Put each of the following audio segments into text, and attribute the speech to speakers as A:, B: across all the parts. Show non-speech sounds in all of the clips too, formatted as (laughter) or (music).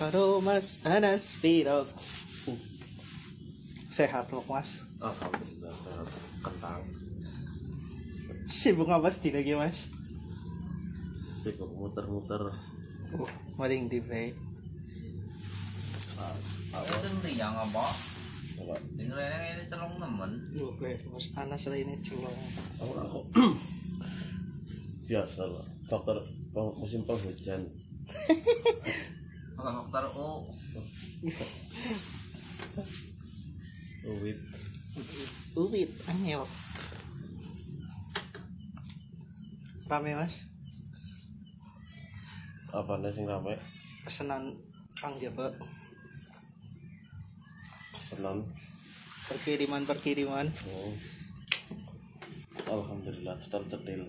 A: Halo Mas Anas Viro. Uh. Sehat loh Mas.
B: Alhamdulillah sehat kentang
A: Sibuk apa sih lagi Mas?
B: sibuk muter-muter
A: Uh, maling di play.
C: Itu meriang apa?
B: Apa?
C: Dengerannya ini celong nemen.
A: Uh, gue Mas Anas lah ini celong.
B: aku aku (clears throat) biasa lah faktor peng- musim penghujan
C: Kalau dokter U,
B: uwit
A: Uwit, angel. Rame Mas.
B: apa nih sing rame
A: Pesanan Kang Jaba.
B: senam
A: Perkiriman perkiriman.
B: oh. alhamdulillah cetar cetil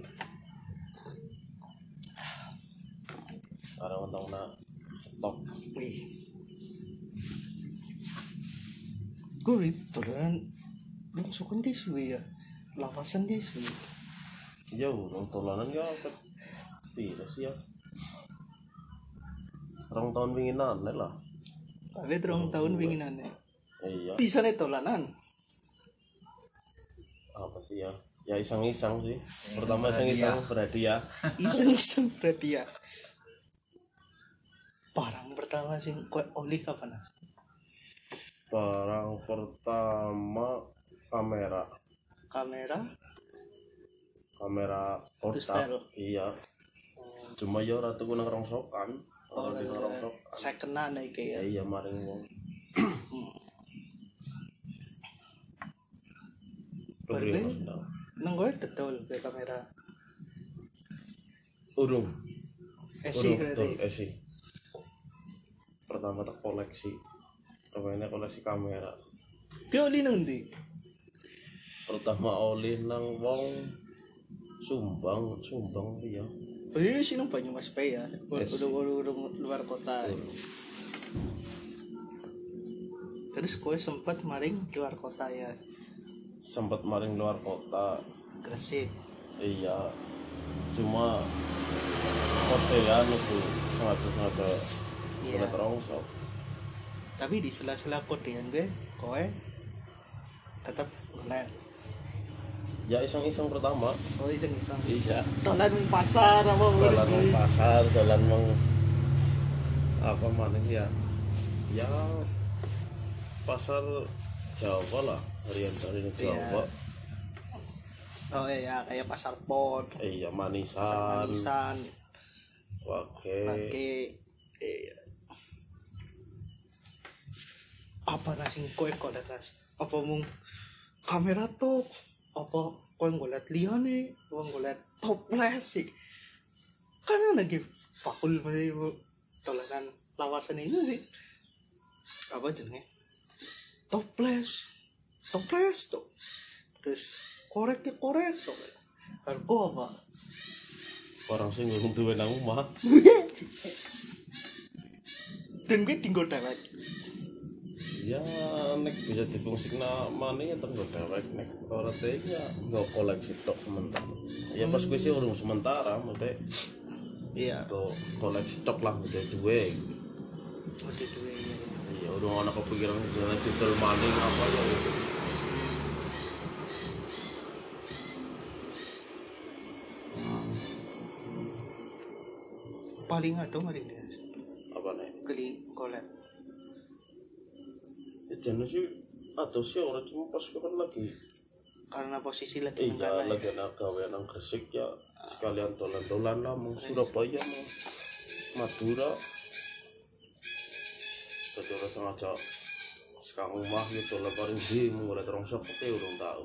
B: karena untung nak stok
A: Wih. Gue ribet dan lu suka di suwi ya. Lawasan di suwi.
B: ya urung tolanan ya ket piro sih ya rong tahun pinginan lah
A: Tapi terong tahun winginannya.
B: iya
A: Bisa nih tolanan.
B: apa sih ya ya iseng-iseng sih pertama iseng-iseng (laughs) berhadiah
A: iseng-iseng berarti ya barang pertama sih kue oli apa nah
B: barang pertama kamera
A: kamera
B: kamera kotak
A: Pistol.
B: iya cuma ya ora tuku nang rongsokan ora di nang rongsokan
A: secondan ya
B: ya
A: kayak
B: iya maring wong (clears throat)
A: Berarti?
B: Urung, no.
A: nang gue betul gue kamera
B: urung
A: eh
B: urung
A: sih
B: betul
A: berarti
B: esi pertama tak koleksi pertama koleksi kamera
A: gue oli nang di
B: pertama oli nang wong sumbang sumbang iya
A: oli sih nang banyak mas pe ya udah
B: Yes.
A: udah udah luar kota terus gue sempat maring luar kota ya
B: sempat maring luar kota
A: Gresik
B: iya cuma kota ya itu sengaja sengaja
A: iya
B: sudah terongsok
A: tapi di sela-sela kodean gue kowe tetap ngeliat
B: ya iseng iseng pertama
A: oh iseng-iseng
B: iya
A: tolan ning pasar apa
B: jalan
A: udah
B: meng pasar jalan meng apa maning ya ya pasar Jawa lah harian dari
A: Iya.
B: Jawa
A: Oh iya, kayak pasar pot,
B: iya
A: pasar
B: manisan
A: manisan,
B: pakai
A: pakai iya. apa nasi kowe kok atas apa mung kamera top apa kowe ngeliat liane kowe ngeliat toples sih kan lagi pakul masih tolakan lawasan ini sih apa jenenge toples toples tuh terus korek ya korek tuh harga apa
B: orang sih ngurung duwe nang omah
A: dan gue tinggal dewek
B: ya nek bisa difungsikan mana ya tenggo dewek nek ora teh ya nggak koleksi tok sementara ya pas gue sih urung sementara maksudnya
A: iya
B: tuh koleksi tok lah udah duwe
A: udah dua iya.
B: ya urung ana kepikiran jalan didol maning apa ya
A: paling atau maring dia
B: apa nih
A: kali kolek
B: ya jenis sih atau sih orang cuma pas gue kan lagi
A: karena posisi lagi
B: iya
A: menggala ya.
B: lagi nak gawe nang Gresik ya sekalian dolan-dolan lah mau Surabaya mau Madura jadi orang sengaja sekarang rumah gitu lah paling di mulai terongsok oke urung tahu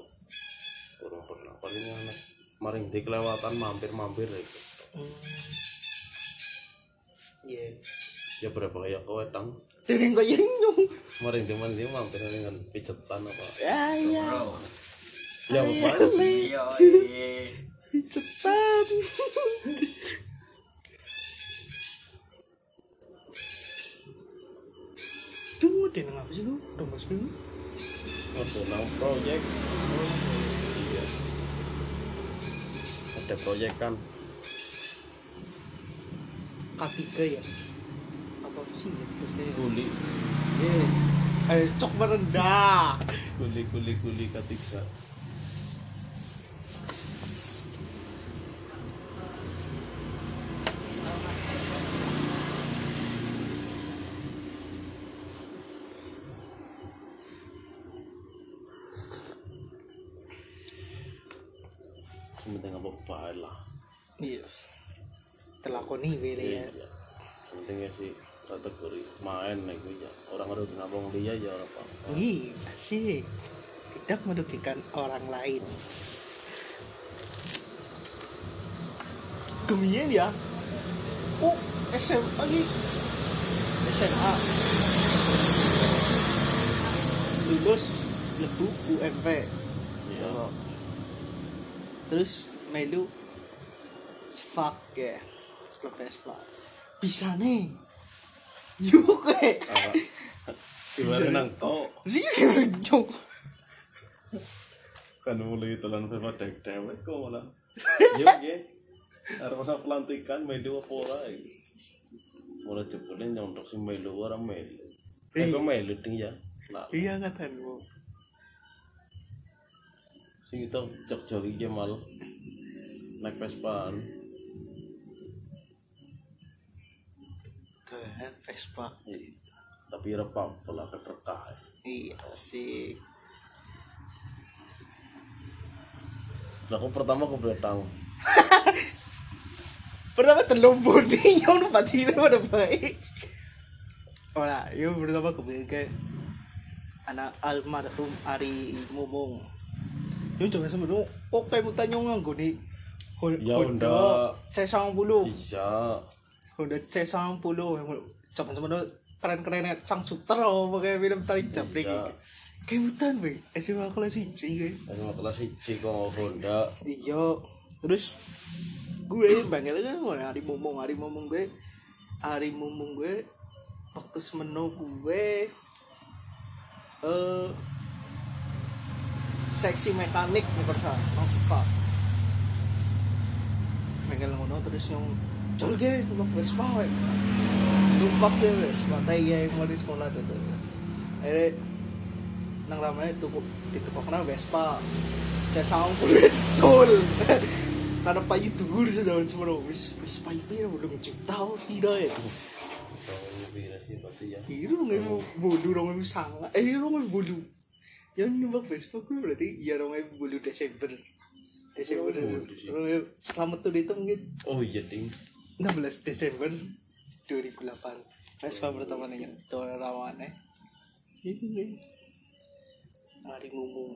B: urung pernah paling aneh maring di kelewatan mampir-mampir ya. itu
A: Hmm. iya
B: ya berbahaya kowe tang
A: Tereng kok yang nyong.
B: maring di mana dia mampir dengan pijetan apa
A: Ya ya.
C: bro.
B: ya apa
C: Iya, iya.
A: Cepat. Tunggu deh nang apa sih lu? Tunggu sih lu.
B: Masuk nang proyek Iya. ada proyek kan
A: K3 ya. Apa sih ya?
B: Kuli,
A: Eh, eh, cok merendah.
B: kuli, kuli, kuli ketiga. Sementing apa bahan lah.
A: Yes. Telakoni ini ya.
B: Iya. Pentingnya sih kategori main nih gue ya. Orang udah nabung dia ya orang apa.
A: Ih, asik. Tidak merugikan orang lain. Kemien ya. Oh, SMA nih. SMA. Lulus lebu UMP.
B: Iya.
A: Terus melu Spak ya. Klub Spak. Bisa nih. Yuk, eh. ya,
B: Apa? Ibarat nang kok
A: Sih, jong.
B: kan mulai telan sama dek dewek kok malah. Iya ge. Arwana pelantikan melu apa lagi. Mulai jebulin nyontok si melu orang melu. Eh,
A: Iya.
B: kok melu ding ya. Nah,
A: Iya katamu.
B: sing itu jok joli ge mal. Naik iya. Vespaan.
A: Keren Vespa.
B: Iya. Tapi repam pola keterkah.
A: Iya sih.
B: Nah, aku pertama aku berdatang.
A: Pertama terlumpur nih, (laughs) yang udah pati itu pada baik. Ora, yuk pertama kebingkai anak almarhum Ari Mumung. Yuk coba oh, sebelum oke mutanya nganggo nih. Hon-
B: Ya,
A: Honda C90
B: Honda. Iya.
A: Honda C90 Coba sebelum keren-kerennya Sang Suter oh, pakai film tarik jabrik
B: Iya.
A: Kayak mutan be, SMA kelas 1 gue
B: Aku mau kelas siji kok mau Honda.
A: iya terus gue bangkel kan mulai hari momong hari momong gue hari momong gue waktu semeno gue eh seksi mekanik pemirsa mang sepak bangkel ngono terus yang jol gue numpak Vespa we numpak gue Vespa teh ya yang mau di sekolah tuh tuh akhirnya nang ramai itu ditukokna Vespa saya sampur betul (laughs) karena payu dhuwur sedang semono wis wis payu pira belum juta pira ya
B: Tahun pira sih berarti ya?
A: biru nggak mau bodoh orang yang sangat eh orang yang bodoh yang nembak Ya, Vespa gue berarti ya orang yang bodoh Desember Desember
B: Oh, bodoh sih.
A: orang yang selamat tuh itu mungkin
B: Oh iya ding.
A: 16 Desember 2008 Vespa pertama nih tuh rawane itu nih hari ngomong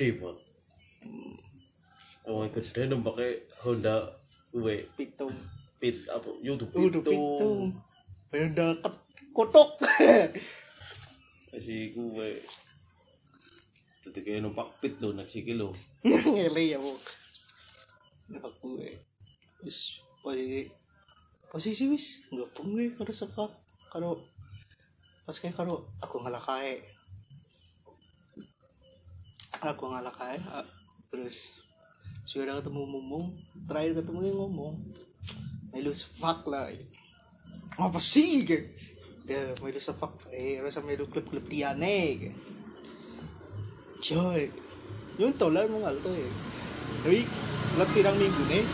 B: Depot. Oh ikut dia nampaknya Honda W
A: pitung
B: Pit apa YouTube
A: Udah
B: itu.
A: pintu. Udah ket- kotok. (laughs)
B: Si gue. Jadi kayak numpak pit lo naik si kilo.
A: Ngele ya, Bu. Nembak gue. eh, Wis, posisi posisi wis nggak gue karo sepak karo pas kayak karo aku ngalah kae. Aku ngalah kae a- terus sudah ketemu mumung terakhir ketemu dia ngomong melu sepak lah apa sih ke ya melu sepak eh rasa melu gitu. klub klub liane ke joy yung tolar mo nga to eh tapi lang pirang minggu nih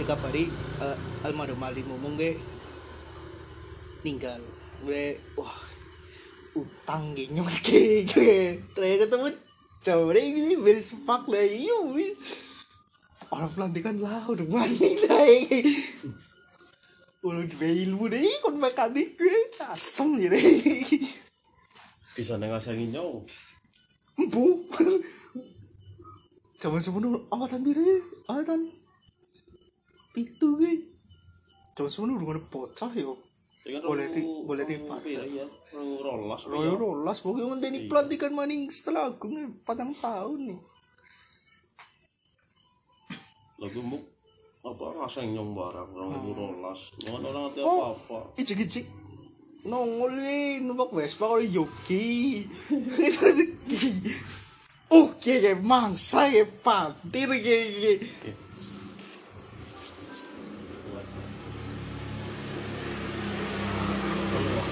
A: tiga hari uh, almarhum Ali Mumung ge ninggal gue wah utang gini ke gue terakhir ketemu cowok ini beli sepak lah iyo wih. orang pelantikan lah udah mandi lah eh. udah dua ilmu deh kon mekanik gue asem jadi
B: Bisa nengasangin nyong.
A: (laughs) Bu. Zaman semono angkatan biru angkatan pitu ge. Zaman semono urung ana bocah yo.
B: Ya kan,
A: Boleh
B: orang-
A: di- boleh
B: orang
A: dipakai.
B: pira ya. Orang rolas.
A: Royo rolas pokoke ngenteni
B: Iya.
A: pelantikan maning setelah aku nge, patang tahun nih.
B: Lagu muk apa rasanya nyong barang orang itu rolas. Jangan orang hati apa
A: Hmm. Oh.
B: apa.
A: Ijik-ijik nongol nih numpak Vespa karo Yogi. Oke, ge Uh, mangsa ge pantir ge ge.
B: Buat.
A: Iya,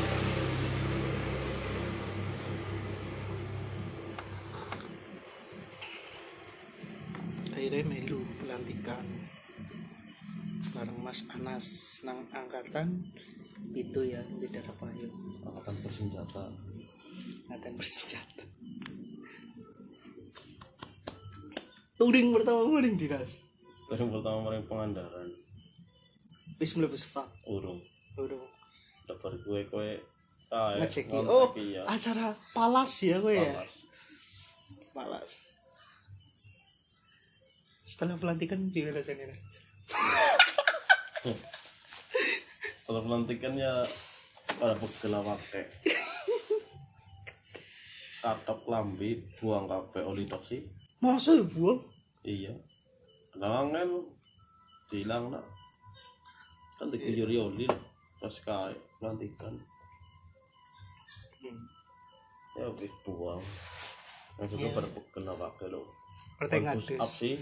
A: Dede melu pelantikan bareng Mas Anas nang angkatan itu ya di daerah Payu
B: angkatan bersenjata
A: angkatan bersenjata Turing pertama muring dinas
B: Terus pertama maring pengandaran
A: Wis mlebu sepak
B: urung
A: Urung
B: lebar gue kowe ah
A: ngeceki
B: ngeceki
A: oh
B: ya
A: acara palas ya gue ya
B: Palas.
A: palas setelah pelantikan juga rasanya Nas?
B: kalau pelantikan ya pada pegelawak kayak katok lambi buang kape oli toksi
A: masa ya buang
B: iya kenangan hilang nak kan dikejur oli lah pas kae pelantikan
A: hmm.
B: ya wis buang maksudnya
A: Iya.
B: pada pegelawak lo
A: pertengahan
B: Bagus up sih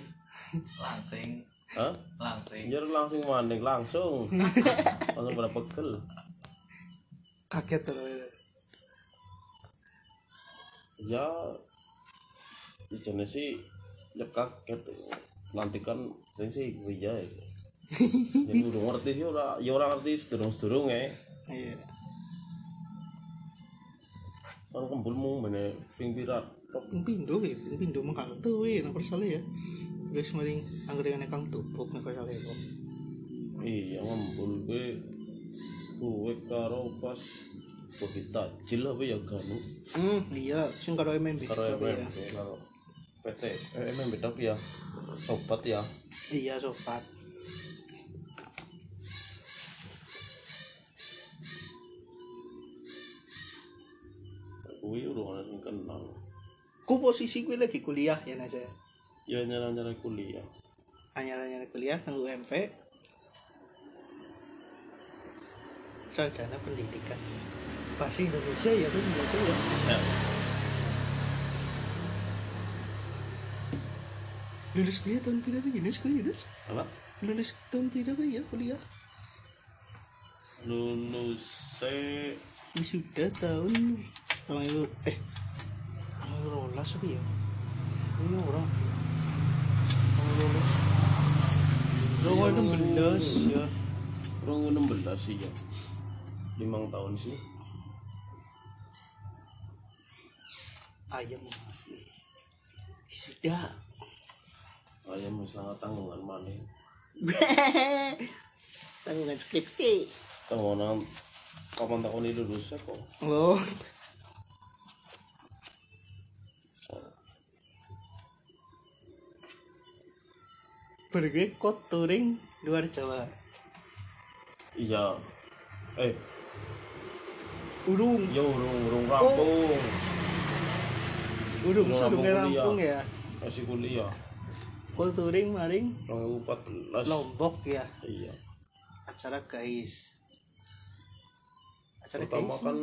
C: langsing
B: Hah?
C: langsing
B: Anjir langsung maning langsung. langsung pada pegel.
A: kaget tuh ya.
B: Ya jenis sih ya kaget nanti kan saya sih gue ya jadi udah ngerti sih ora ya ora ngerti sedurung sedurung ya
A: iya
B: kan kembulmu mana pinggiran tok
A: pindo ya pindo mah kaget tuh ya nomor ya terus maring angkringan kang tupuk nomor salah ya
B: iya ngembul gue gue karo pas begitu jil apa ya ganu
A: hmm iya sing karo MMB
B: karo
A: tapi
B: MM
A: ya
B: karo PT eh, MM beda ya sobat ya
A: iya sobat
B: gue udah orang sing kenal
A: ku posisi gue lagi kuliah ya Nas ya
B: ya nyala-nyala kuliah
A: anyar-anyar kuliah nang UMP sarjana pendidikan bahasa Indonesia ya tuh menurutku ya lulus kuliah tahun berapa ya lulus kuliah lulus
B: apa
A: lulus tahun berapa ya kuliah
B: lulus saya
A: wisuda tahun kalau itu eh kalau rolas apa ya ini orang kalau rolas Rolas
B: Iya,
A: 16 ya
B: kurang 16 sih ya limang tahun sih
A: ayam mati wisuda
B: ayam misalnya tanggungan mana
A: tanggungan skripsi
B: tanggungan kapan tahun ini lulusnya kok
A: oh pergi kok touring luar Jawa
B: iya eh
A: urung
B: ya urung urung rampung
A: urung
B: Urung
A: sebelumnya
B: Lampung
A: Lampung ya
B: masih kuliah
A: kok touring maring
B: 2014
A: Lombok ya
B: iya
A: acara guys acara
B: pertama
A: guys
B: kan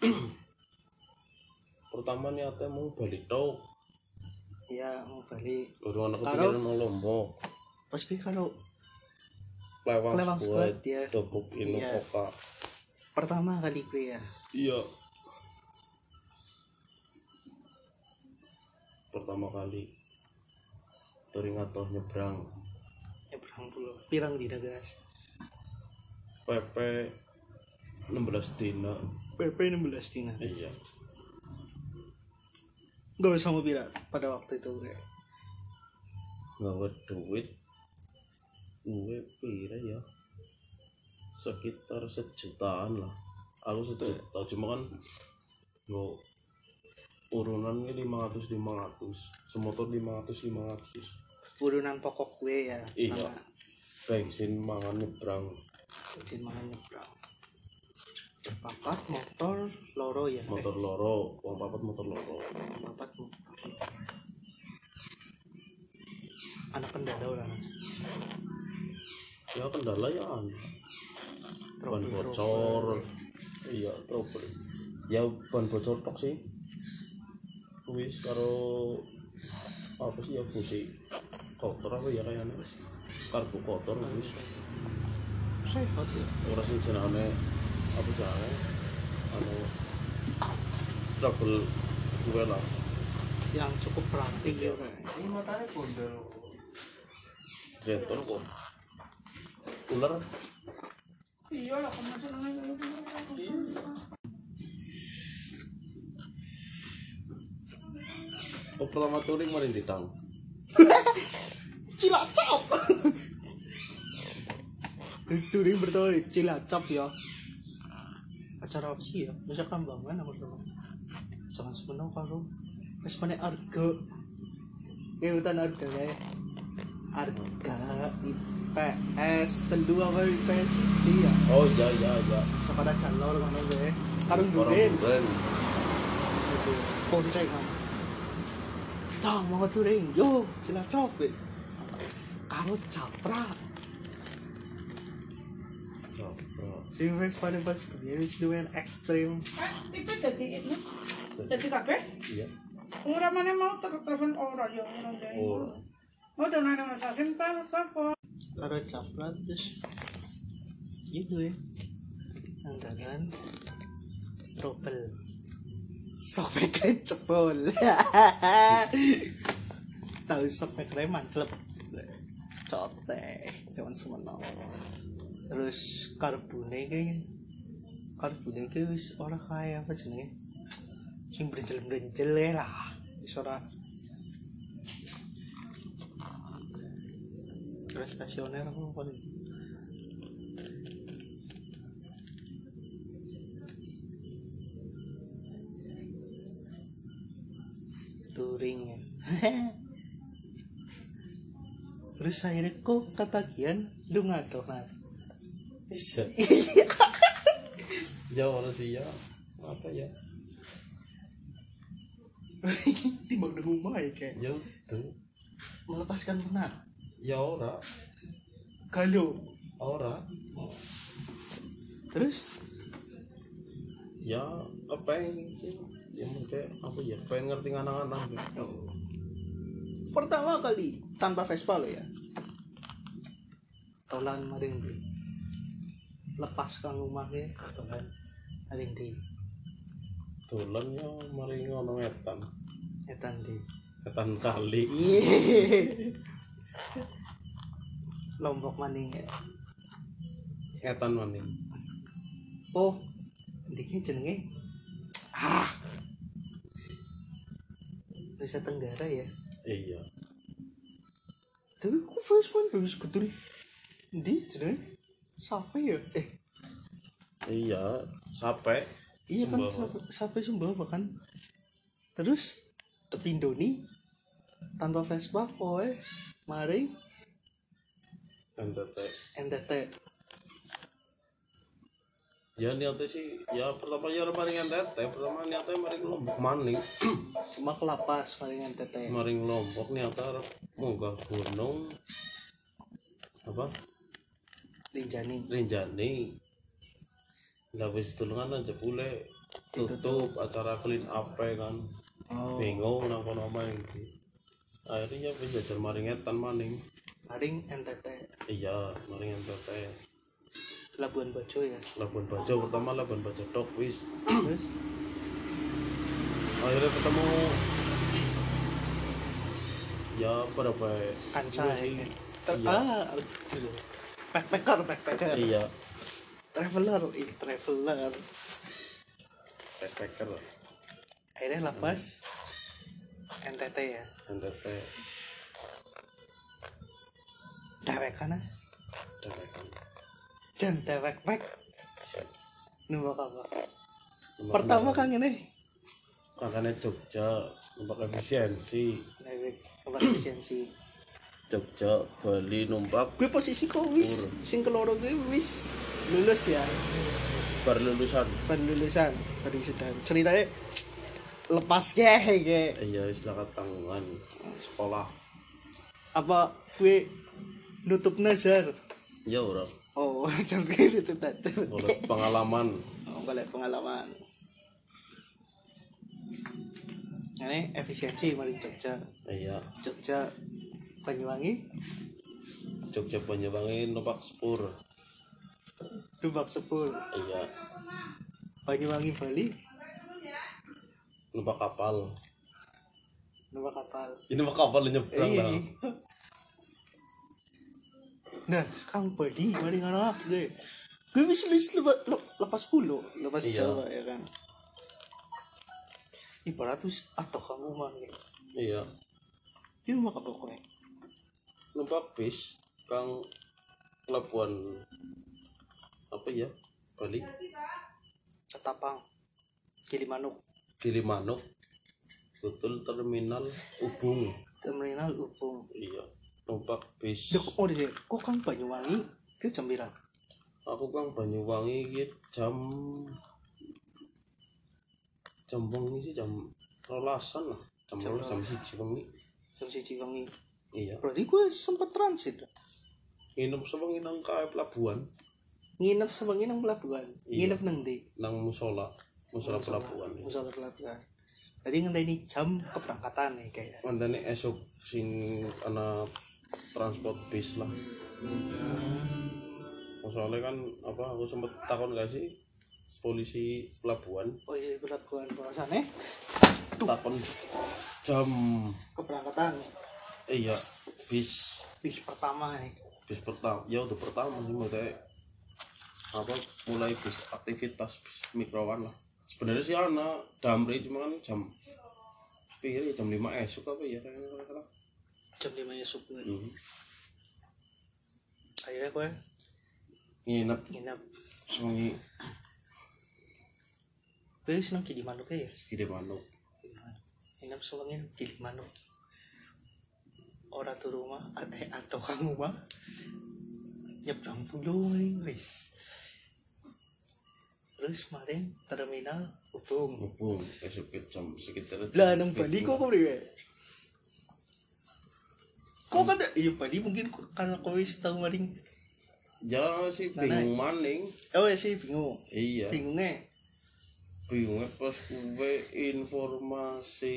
B: (clears throat) pertama niatnya mau balik tau
A: ya mau balik
B: urung anak
A: Karo-
B: kepikiran mau lombok
A: pas pi kalau
B: lewang,
A: kelewang
B: squad
A: squad ya
B: tepuk inu
A: Iya.
B: koka
A: pertama kali gue ya
B: Iya. Pertama kali touring atau nyebrang
A: ya berang dulu pirang di dagas
B: PP 16 dina.
A: PP 16 tina
B: Iya.
A: gak usah mau pira pada waktu itu gue
B: Gawe duit gue pira ya sekitar sejutaan lah aku sejuta cuma kan lo urunannya 500 500 semotor 500 500
A: urunan pokok gue ya
B: Iya.
A: sama
B: bensin mangan nyebrang
A: bensin makan nyebrang papat motor loro ya
B: motor loro uang papat motor loro
A: eh, papat motor anak kendala orang
B: ya kendala ya anu ban
A: Trouble,
B: bocor
A: trouble.
B: iya trouble ya ban bocor tok sih wis karo apa sih ya busi kotor apa ya kayaknya karbu kotor wis
A: sehat ya
B: ora sih jenenge apa jenenge anu trouble gue lah
A: yang cukup berarti ya
C: ini matanya gondol
B: Dreador kok. Ular.
A: iya lah kamu seneng
B: Oh, pertama touring maring di tahu.
A: cilacap itu nih bertemu di cilacap ya acara apa sih ya bisa kambangan aku dulu jangan sepenuh kalau wes mana arga ini hutan arga ya arga IPS telu apa IPS iya
B: Oh, iya iya iya.
A: sekolah calor mana gue karung
B: Orang
A: durian
B: Duren.
A: gitu bonceng kan tang mau turing yo cilacap ya karo capra
B: Oh, oh.
A: sing wis paling pas biyen wis luwen ekstrim
D: Kan, Iku jadi ini, jadi kabeh.
B: Iya.
D: Umur mana mau ter- telepon ora ya ora ya.
B: Oh.
D: Mau donan sama sasim tar telepon.
A: karo capra terus gitu ya anggangan trouble sobek rem cepol tahu sobek rem mancelep cote cuman semeno terus karbone kayak karbone kayak wis ora kaya apa jenenge sing brenjel brenjel lah wis ora terus stasioner apa paling touring (laughs) ya terus akhirnya kok ketagihan lu ngatur nah (laughs)
B: Bisa. Ya orang sih ya. Apa ya?
A: di bangun rumah ya kayak
B: Ya itu.
A: melepaskan penat
B: Ya ora.
A: kalau
B: Ora.
A: terus
B: Ya kepengen sih. Ya maksudnya apa ya? Pengen ngerti anak-anak. gitu.
A: pertama kali tanpa Vespa lo ya tolan maring di lepas kang rumahnya tolan maring di
B: Dolan ya mari ngono wetan.
A: etan di (laughs)
B: Wetan kali.
A: lombok maning ya
B: Wetan maning.
A: oh ini jenenge ah Nusa Tenggara ya
B: Iya.
A: tapi kok Vespa bagus ketul di jenenge siapa ya eh
B: Iya. Sampai
A: Iya kan
B: Sumbawa.
A: sampai- sampai Sumbawa kan. Terus Tepindo nih tanpa Vespa kowe mari
B: NTT.
A: NTT.
B: Ya niatnya sih ya pertama ya paling NTT. Pertama niatnya mari lombok maning.
A: Cuma ke lapas mari NTT.
B: maring lombok niatnya arep munggah gunung apa
A: Rinjani.
B: Rinjani lah wis tulungan aja pule tutup acara clean up ya kan
A: Oh.
B: bingung nang kono main iki akhirnya wis jajar maring etan maning
A: Maring NTT
B: iya maring NTT
A: Labuan Bajo
B: (clears throat)
A: ya.
B: Labuan Bajo pertama Labuan Bajo tok wis
A: Terus
B: akhirnya ketemu ya pada baik
A: Kanca
B: Iya
A: ya.
B: sih.
A: Ter
B: Iya.
A: ah, aduh. backpacker, backpacker.
B: iya
A: Traveler, ih traveler.
B: backpacker lah
A: Akhirnya lapas NTT ya.
B: NTT
A: Dewek kan ah.
B: dan rekan
A: dan dewek mek numpak apa pertama kan? kang ini
B: makanya Jogja numpak efisiensi
A: dewek numpak efisiensi
B: Jogja Bali numpak
A: gue posisi kok wis
B: Pur.
A: sing keloro gue wis lulus ya
B: bar lulusan
A: penlulusan tadi sudah ceritanya lepas ke ke
B: iya istilah tanggungan sekolah
A: apa gue nutup nazar
B: ya ora
A: oh (laughs) jangan nutup nazar
B: oleh pengalaman
A: oh, boleh pengalaman ini efisiensi mari Jogja
B: iya
A: Jogja Banyuwangi
B: Jogja Banyuwangi numpak sepur
A: Dubak Sepul
B: iya
A: Banyuwangi Bali
B: numpak kapal
A: numpak kapal
B: Iya. ini mah kapal nyebrang
A: iya
B: lah
A: Nah, Kang Badi paling ngono deh. Gue bisa lulus leba- le- lepas pulau, lepas
B: Iya.
A: Jawa ya kan. Ibarat wis atau kamu mangi.
B: iya
A: Ki mah kabeh kowe.
B: numpak bis kang pelabuhan apa ya balik
A: Ketapang. Kilimanuk,
B: Gilimanuk betul terminal Ubung
A: terminal Ubung.
B: iya numpak bis
A: Dek, oh deh, kok Kang Banyuwangi ke jam pira?
B: aku kang Banyuwangi iki jam jam bengi sih jam rolasan lah jam
A: Jam
B: rolas jam siji bengi
A: Jam 1 wengi.
B: iya
A: Berarti gue sempet transit.
B: nginep sewengi nang kae pelabuhan
A: Nginep sewengi nang pelabuhan.
B: Iya.
A: Nginep nang ndi?
B: nang musola musola pelabuhan ya.
A: Musola Iya, pelabuhan. Jadi ngenteni jam keberangkatan nih kayak.
B: Mantane esok sing ana transport bis lah. Soalnya kan apa aku sempet takon gak sih polisi pelabuhan
A: Oh iya pelabuhan eh. bahwasannya
B: takon jam
A: keberangkatan
B: eh, iya bis
A: bis pertama nih.
B: bis pertama ya udah pertama sih maksudnya apa mulai bis aktivitas bis mikrowan lah sebenarnya sih ana damri cuma kan jam pikir jam 5 esok apa ya kayaknya kalau nggak salah
A: Jam lima esok nih.
B: Mhm. Hmm.
A: Akhirnya gue
B: nginep
A: nginep.
B: semengi
A: Gue seneng di Manuk ya.
B: gede manuk
A: Nginep soalnya di Manuk. Orang tuh rumah atau atau kamu mah nyebrang pulau nih wis. Terus kemarin terminal Ubung.
B: ngubung esok ke jam sekitar
A: Lah
B: jam
A: nang Bali
B: pitu.
A: kok kok priwe? Kok kan iya Bali mungkin karena kowe tau maring.
B: ya sih
A: Nah,
B: bingung maning
A: Oh ya sih bingung. eh?
B: iya
A: Bingungnya
B: bingungnya pas kue informasi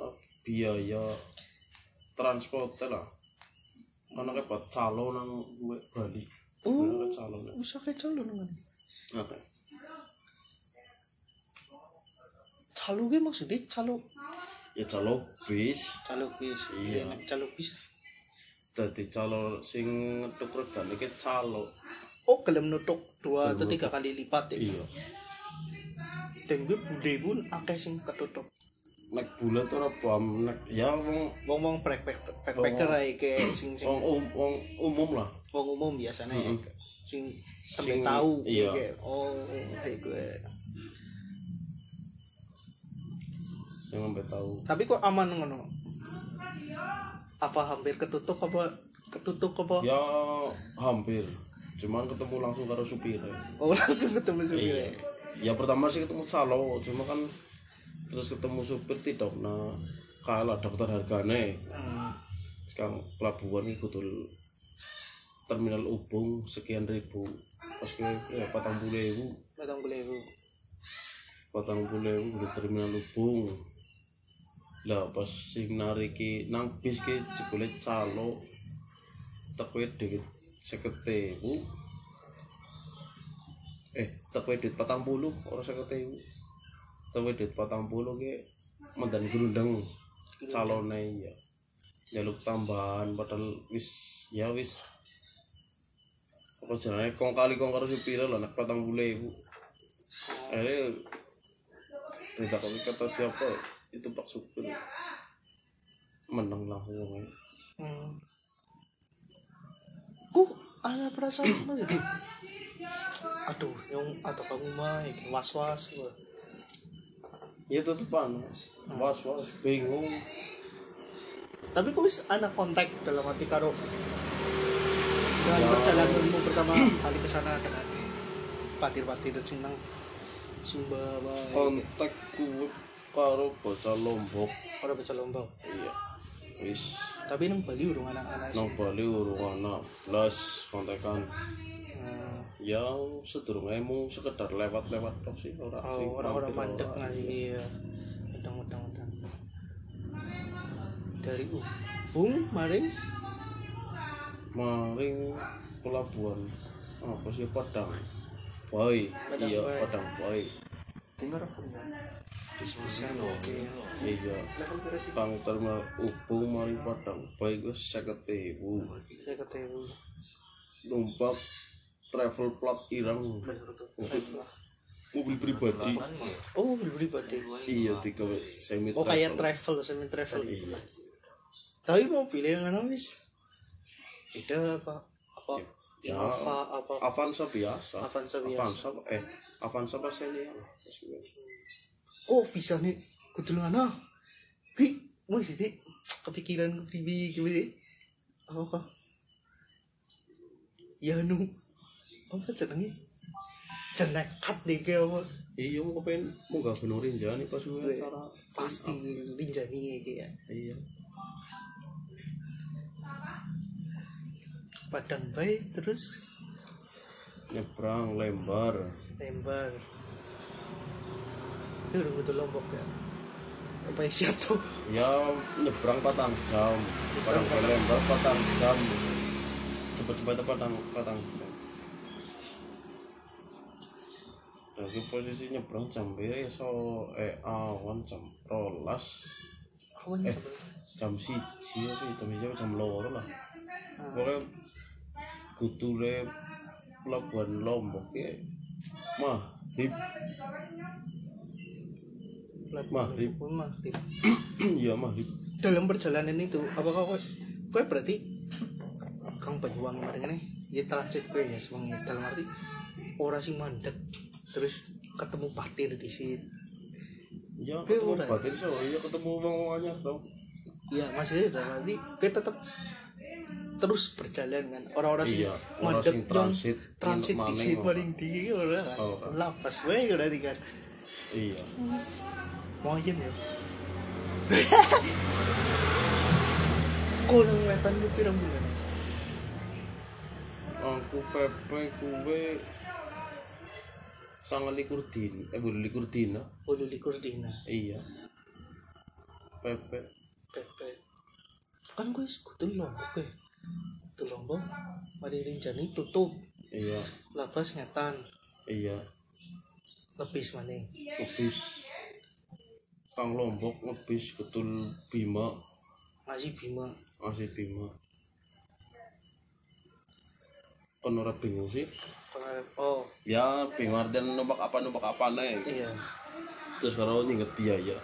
B: eh, biaya transport lah mana kayak buat calon nang gue Bali
A: Oh.
B: mana kayak calon ya.
A: usah kayak calon kan.
B: oke
A: Calo gue maksudnya calo
B: ya calon bis
A: calo bis.
B: Iya.
A: Nek Calo bis.
B: dari calon sing ngetuk regan iki calon
A: Oh gelem nutuk dua
B: Gelem
A: atau tiga
B: nutuk.
A: kali lipat ya.
B: iya
A: Dan gue bude pun akeh sing ketutup.
B: nek bulat ora bam nek ya wong
A: Ngomong backpack backpacker
B: Oh.
A: ae kayak sing sing
B: wong um- wong umum lah
A: wong umum biasanya ya.
B: Mm-mm.
A: Sing tembe
B: Sing-
A: tahu
B: iya.
A: kayak, Oh, kayak gue.
B: sing sampe tahu
A: Tapi kok aman ngono? Apa hampir ketutup apa ketutup apa?
B: ya hampir cuman ketemu langsung karo supir
A: Oh (laughs) langsung ketemu supir.
B: Iya. ya pertama sih ketemu calo cuma kan terus ketemu supir tidak nah kalah daftar hargane
A: Hmm.
B: sekarang pelabuhan itu tuh terminal ubung sekian ribu pas ke ya, patang puluh ribu
A: Batang belewu.
B: patang puluh ribu di terminal ubung lah pas sing nariki nang bis ke jebule calo tekwe duit seketewu eh tekwe duit patang puluh orang seketewu tekwe duit patang puluh ke mendan gerundeng calone ya jaluk tambahan padahal wis ya wis apa jenenge kong kali kong karo supir lho nek patang puluh ibu eh tidak kami kata siapa itu pak supir menang langsung ya.
A: Hmm. Ku ada perasaan apa jadi? (coughs) Aduh, yang atau kamu mah iki was-was gitu. gua.
B: ya tetep panas was was bingung
A: Tapi kok wis ana kontak dalam hati karo
B: Ya.
A: dalam perjalananmu pertama kali ke sana dengan patir-patir sing nang Sumba wae.
B: kontak kuwi karo bocah lombok
A: Ora baca lombok.
B: iya wis
A: Tapi nang Bali urung anak-anak.
B: nang Bali urung ana plus kontekan
A: Hmm.
B: ya sedurunge mung sekedar lewat-lewat tok sih ora sing
A: Oh, orang-orang
B: mampir
A: mandek
B: ora.
A: ngasih iya. Utang utang utang. Dari Ubung, maring
B: maring pelabuhan apa sih Padang Boy
A: Padang
B: iya
A: Boy.
B: Padang Boy
A: dengar aku ya.
B: Iya. Kang terma upung mari padang baik wis 50.000.
A: saya ketemu
B: Numpak travel plot ireng mobil pribadi.
C: Iya.
A: oh beli badai
B: Iya digawe semi
A: oh kayak travel semi travel
B: Iya.
A: tapi mau pilih yang mana wis beda apa apa
B: Ya.
A: Innova apa
B: Avanza biasa.
A: Avanza biasa.
B: Avanza eh Avanza pas ini ya.
A: oh bisa nih kudu ngana pi wis sih kepikiran bibi gimana apa kok ya nu apa jenenge cenekat deh kayak apa
B: Iya mau kepen mau gak benerin jalan pas gue
A: Weh,
B: cara
A: pasti linjani kayak
B: Iya.
A: padang bayi terus
B: Nyebrang lembar.
A: Lembar. Itu udah betul lombok ya. Apa isi tuh?
B: Ya nyebrang patang jam. Padang ke lembar patang jam. Cepat-cepat patang patang jam. Lagi Nah, posisi nyebrang jam biru ya so eh awan jam rolas
A: Awan
B: Eh.
A: coba.
B: jam siji apa ya, jam siji apa jam loro lah. Pokoknya kutule pelabuhan lombok ya (clears throat) maghrib Maghrib.
A: Pun maghrib.
B: ya maghrib
A: Dalam perjalanan itu, apa kau kau berarti kang pejuang kemarin ini ya transit kue ya semuanya dalam arti orang sing mandek terus ketemu patir di situ
B: ya
A: Kowe
B: ketemu
A: ora?
B: batin so ya ketemu wong wong anyar dong
A: ya maksudnya dalam arti kue tetap terus berjalan kan orang-orang sing
B: Iya, orang
A: mandek
B: sing
A: yang
B: transit,
A: transit di
B: maning Oh,
A: situ
B: ora.
A: paling tinggi orang kan
B: Ora.
A: lapas wae berarti kan
B: iya
A: mau aja
B: (laughs)
A: ya kau nang wetan lu pirang bulan
B: aku pepe kuwe sangat likur din eh boleh likur dina
A: bolu likur Oh, dina
B: iya pepe
A: pepe kan gue sekutu lombok ya kudu lombok mari rinjani tutup
B: iya
A: lapas ngetan
B: iya
A: lebih maning
B: ngebis kang lombok ngebis ketul bima
A: masih bima
B: masih bima kan ora bingung sih
A: pengarep oh
B: ya bingung artian numpak apa numpak apa nih
A: iya
B: terus kalau nginget biaya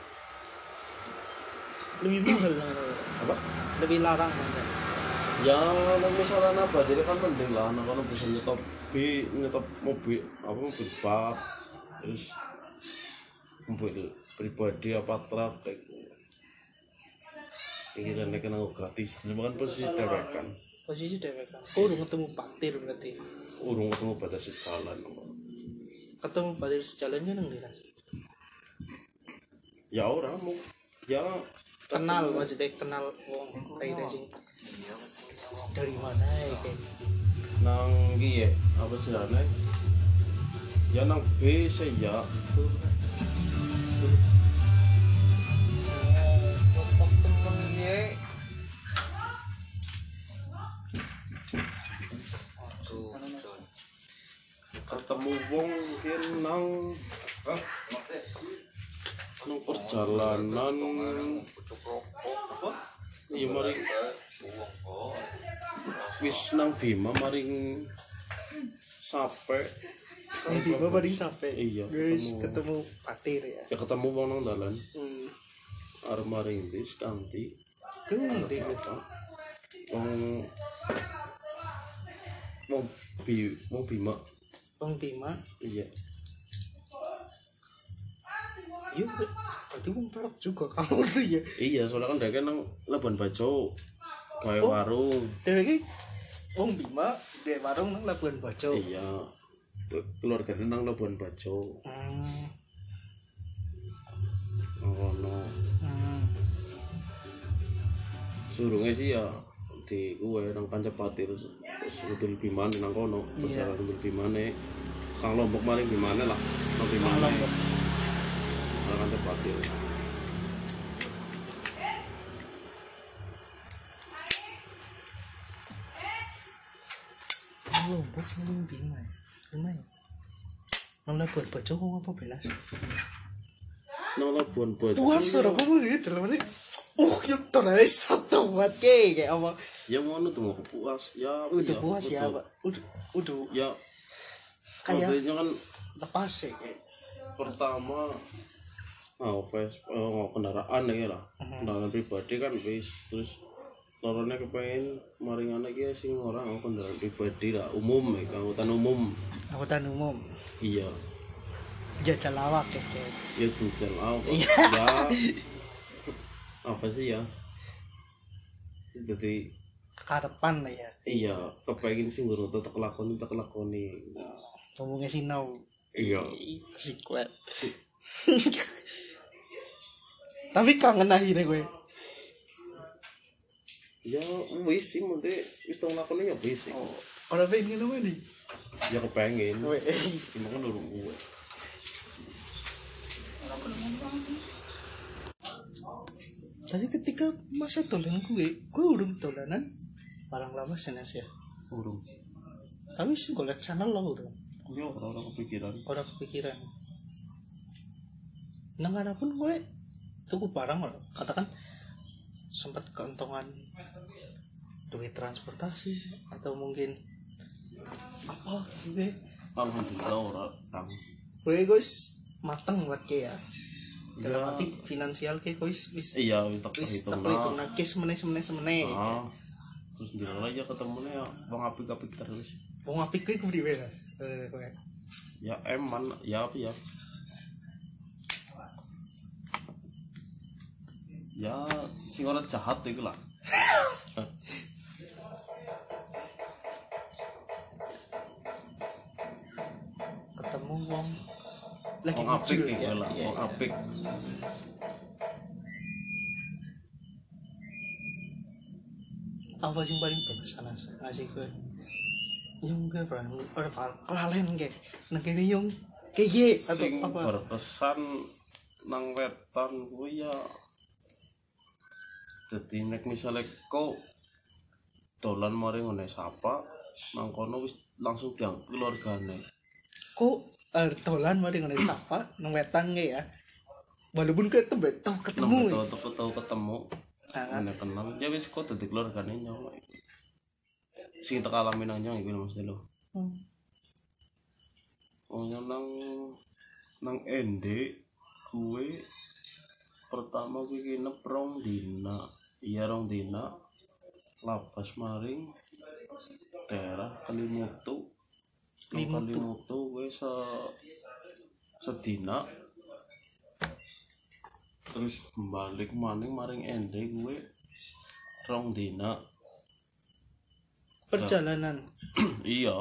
A: lebih mahal kan orang.
B: apa
A: lebih larang kan
B: ya namanya sarana apa jadi kan mending lah anak anak bisa nyetop bi nyetop mobil apa mobil bak terus mobil pribadi apa truk kayak gitu ini dan kena gratis ini kan posisi dewekan
A: posisi dewek kan oh udah ketemu patir berarti
B: urung ketemu batas jalan apa.
A: ketemu patir sejalannya nang dina
B: ya orang mau ya
A: kenal maksudnya kenal wong kayak sing
B: Iya,
A: dari mana ya kayak
B: nang iki ya apa jalannya ya nang bis ya
A: Lepas temen ya
B: ketemu wong mungkin nang nang perjalanan iya mari wis nang Bima maring sampai
A: Kang Kan Bima paling sampai
B: Iya,
A: Guys
B: ketemu.
A: ketemu patir ya
B: ya ketemu wong nang dalan
A: Hmm
B: arep maring bis kanthi
A: Gede gitu
B: apa wong wong bi wong Bima
A: Bang Bima
B: iya
A: Iya Berarti wong pelok juga (laughs) Kamu tuh ya
B: iya soalnya kan dhek nang Labuan Bajo gawe
A: Oh.
B: warung
A: Dewi Bang Bima Di warung nang Labuan Bajo
B: iya keluarga nang Labuan Bajo
A: Hmm
B: nang kono
A: Hmm
B: surunge sih ya di gue nang Kanjepati terus terus mobil biman nang kono
A: Iya.
B: berjalan mobil bimane kang lombok maling bimane lah nang bimane
A: Lombok.
B: nang Kanjepati
A: Lombok paling Bima ya Bima ya Nang Labuan Bajo kok apa belas
B: nang Labuan Bajo.
A: Tuhan suruh apa gitu dalam ini. Uh, yuk tonane satu buat kayak kayak apa?
B: Ya ngono tuh mau puas. Ya
A: Udah
B: ya,
A: puas ya,
B: betul.
A: Pak. Udah udah
B: Ya
A: kayak
B: modelnya kan
A: lepas ya kayak.
B: pertama mau pes mau kendaraan ya lah
A: Mhm.
B: kendaraan pribadi kan wis terus lorone kepengen maringane ki sing ora nganggo kendaraan pribadi lah umum ya angkutan umum
A: Angkutan umum
B: iya
A: jajal lawak ya kayak.
B: ya dutel apa
A: Iya.
B: ya
A: (laughs)
B: apa sih ya jadi
A: Karepan lah ya.
B: iya kepengen sing ora tak lakoni tak lakoni
A: Ngomongnya sinau.
B: iya
A: Si kuat. (laughs) Tapi kangen akhirnya gue.
B: ya wis sih mesti wis tak lakoni ya wis sih.
A: Oh, orang pengen ngomong nih.
B: ya kepengen
A: Gue.
B: Cuma kan dulu gue
A: Tapi ketika masa tolan gue, gue udah tolanan paling lama senes ya.
B: urung
A: Tapi sih gue liat channel lo udah.
B: gue Iya, orang-orang kepikiran
A: orang kepikiran nang ada pun gue tuku barang loh katakan sempat keuntungan duit transportasi atau mungkin apa gue
B: alhamdulillah orang orang
A: gue guys mateng buat kayak ya
B: Ya.
A: dalam arti finansial kayak guys wis
B: iya wis tak
A: wis
B: hitung
A: terhitung nake semene semene semene
B: nah terus jalan aja ketemunya ya bang apik apik terus
A: mau ngapik gue gue dibela Eh, gue
B: ya eman ya apa ya ya sing orang jahat itu lah
A: ketemu wong lagi
B: wong apik
A: bujur,
B: itu
A: ya,
B: lah
A: iya,
B: wong
A: iya.
B: apik
A: apa sih yang paling berkesan as- ngasih gue yang gue pernah pernah pal- kelalen kayak nah kini yang kayak gini atau
B: sing
A: apa
B: berkesan nang wetan kuwi ya dadi nek misale kok dolan mari ngene sapa nang kono wis langsung diang keluargane
A: kok eh, dolan mari ngene sapa nang wetan nggak ya walaupun gue tuh tau
B: nang
A: ketemu ya.
B: ketemu tau ketemu
A: Nah,
B: ngene kenal ya wis kok dadi keluargane nyawa sing tak alami nang nyong iku lho, Mas Delo
A: hmm.
B: Oh nang nang ende kuwe pertama kuwi nginep rong dina. Iya rong dina. Lapas maring daerah Kalimutu. Nang
A: Kelimutu.
B: Kalimutu kuwi se sedina. Terus balik maning maring ende kuwe rong dina. (clears throat)
A: perjalanan
B: iya.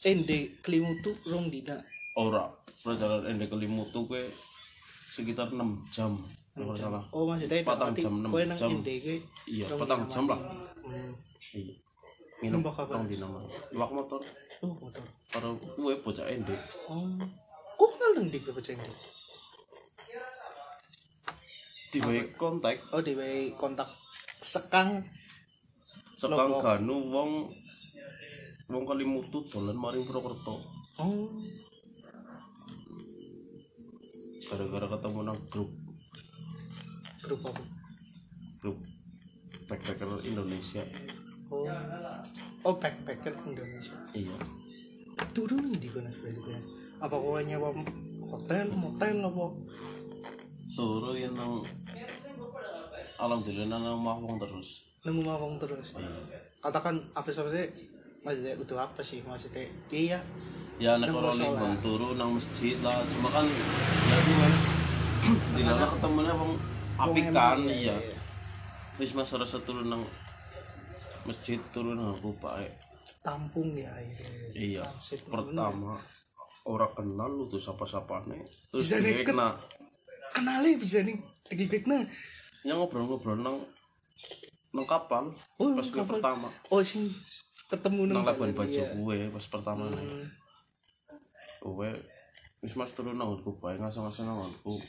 A: ende klimutu rong dina
B: ora perjalanan ende kelimutu kuwi sekitar 6 jam kalau nggak salah
A: oh maksudnya
B: Patang
A: berarti
B: jam, enam
A: gue nang
B: jam.
A: ende gue
B: iya
A: Rong
B: petang
A: dina
B: jam lah
A: hmm.
B: iya minum
A: Numpak apa?
B: petang dina mah iwak motor
A: oh motor
B: karo kuwe bocah ende
A: oh kok kenal nang ende gue bocah ende
B: diwe kontak
A: oh di kontak sekang
B: sekang
A: Lopo.
B: ganu wong wong kelimutu dolan maring Purwokerto
A: oh
B: gara-gara ketemu nang grup
A: grup apa
B: grup backpacker Indonesia
A: Oh, oh backpacker Indonesia.
B: iya
A: Turun nih di mana sebenarnya? Apa kau nyewa hotel, motel apa?
B: suruh yang nang alhamdulillah nang omah wong terus
A: Nemu mawang terus. Katakan apa sih? Maksudnya itu apa sih? Maksudnya iya.
B: ya nek
A: Nang
B: ora
A: musola.
B: limbang turu nang masjid lah cuma kan ya kuwe dilala ketemunya wong
A: wong
B: apik
A: emang,
B: kan
A: iya,
B: iya wis mas ora turu nang masjid turu nang aku pae
A: Tampung ya akhirnya.
B: iya
A: Transit.
B: pertama ora kenal lu tuh sapa-sapane terus
A: Bisa
B: dia
A: deket.
B: kena
A: Kenalnya bisa nih. Lagi baik nah.
B: ya ngobrol-ngobrol nang nang kapal
A: Oh,
B: pas gue
A: kapal.
B: pertama
A: Oh sih ketemu
B: nang
A: nang
B: labuan
A: Bali,
B: bajo
A: iya.
B: gue pas pertama nang
A: Hmm.
B: Kowe wis mas turu nang nggonku bae ngasong-ngasong nang nggonku.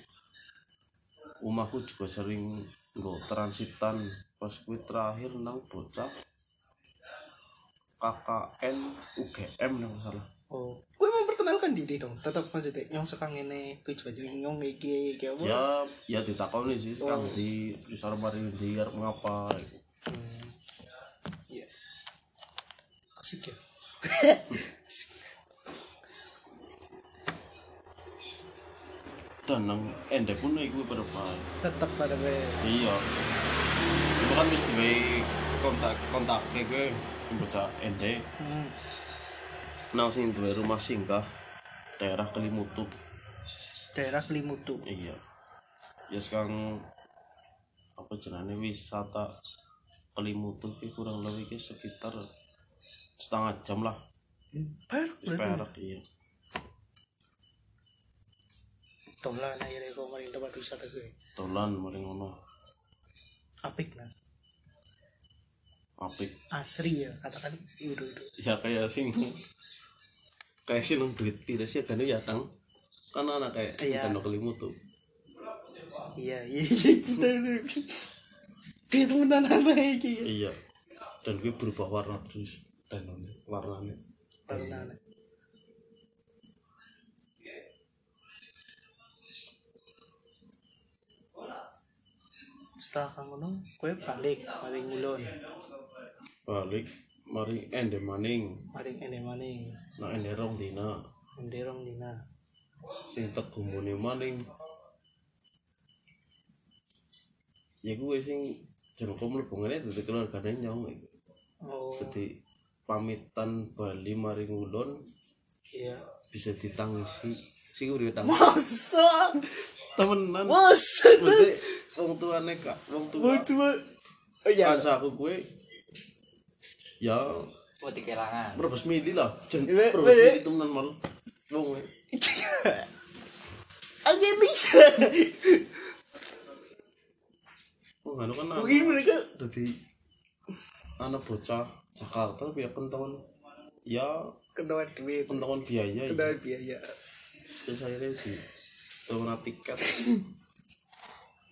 B: Omahku juga sering nggo transitan pas kuwi terakhir nang bocah KKN UGM nih masalah
A: Oh, gue memperkenalkan diri dong. Tetap maksudnya nyong sekang ini tujuh baju nyong iki kayak apa?
B: ya ya ditakoni sih
A: Oh.
B: kang di di mari di arep ngapa gitu.
A: Hmm. Iya. Asik ya.
B: dan nang endek pun iku pada baik
A: Tetap pada gue.
B: iya itu kan wis duwe kontak kontak gue pembaca endek
A: Hmm.
B: nang sing duwe rumah singgah daerah Kelimutu
A: Daerah Limutu.
B: iya ya sekarang apa jenane wisata Kelimutu ki kurang lebih ki sekitar setengah jam lah
A: Hmm. Perak
B: wis perak iya
A: Tolan akhirnya kau maring tempat wisata gue.
B: dolan mari ngono
A: Apik nah.
B: apik
A: Asri ya katakan itu itu.
B: ya kayak sing kayak sih nang duit pira sih kan ya tang kan anak kayak
A: Iya.
B: kita no Kelimutu
A: Iya iya iya, kita (laughs) itu. Kayak temenan anak iki.
B: iya dan gue berubah warna terus dan warnanya
A: Temenan. anak. Setelah kamu nong, kue balik maring ngulon,
B: balik mari ende maning
A: maring ene maning,
B: nah ende rong dina
A: menderong dina.
B: sing tegumune maning ya gue sing jenengku mlebu ngene dadi keluargane nyong iku.
A: Oh,
B: dadi pamitan Bali mari ngulon
A: iya.
B: bisa ditangisi sing urip tangisi
A: Masa,
B: temenan
A: masa.
B: Maksudnya, wong tuane kak wong tua
A: Waktu, oh iya. (laughs)
B: kanca aku gue ya
C: Buat dikelangan.
B: merebus mili lah jen
A: Iya,
B: merebus
A: iya.
B: mili temenan mal wong eh.
A: Angelina.
B: wong anu kan anak-
A: Mungkin mereka
B: jadi anak bocah Jakarta tapi ya kentauan ya
A: ketahuan duit,
B: kentauan biaya ya
A: ketahuan biaya.
B: terus akhirnya di kena tiket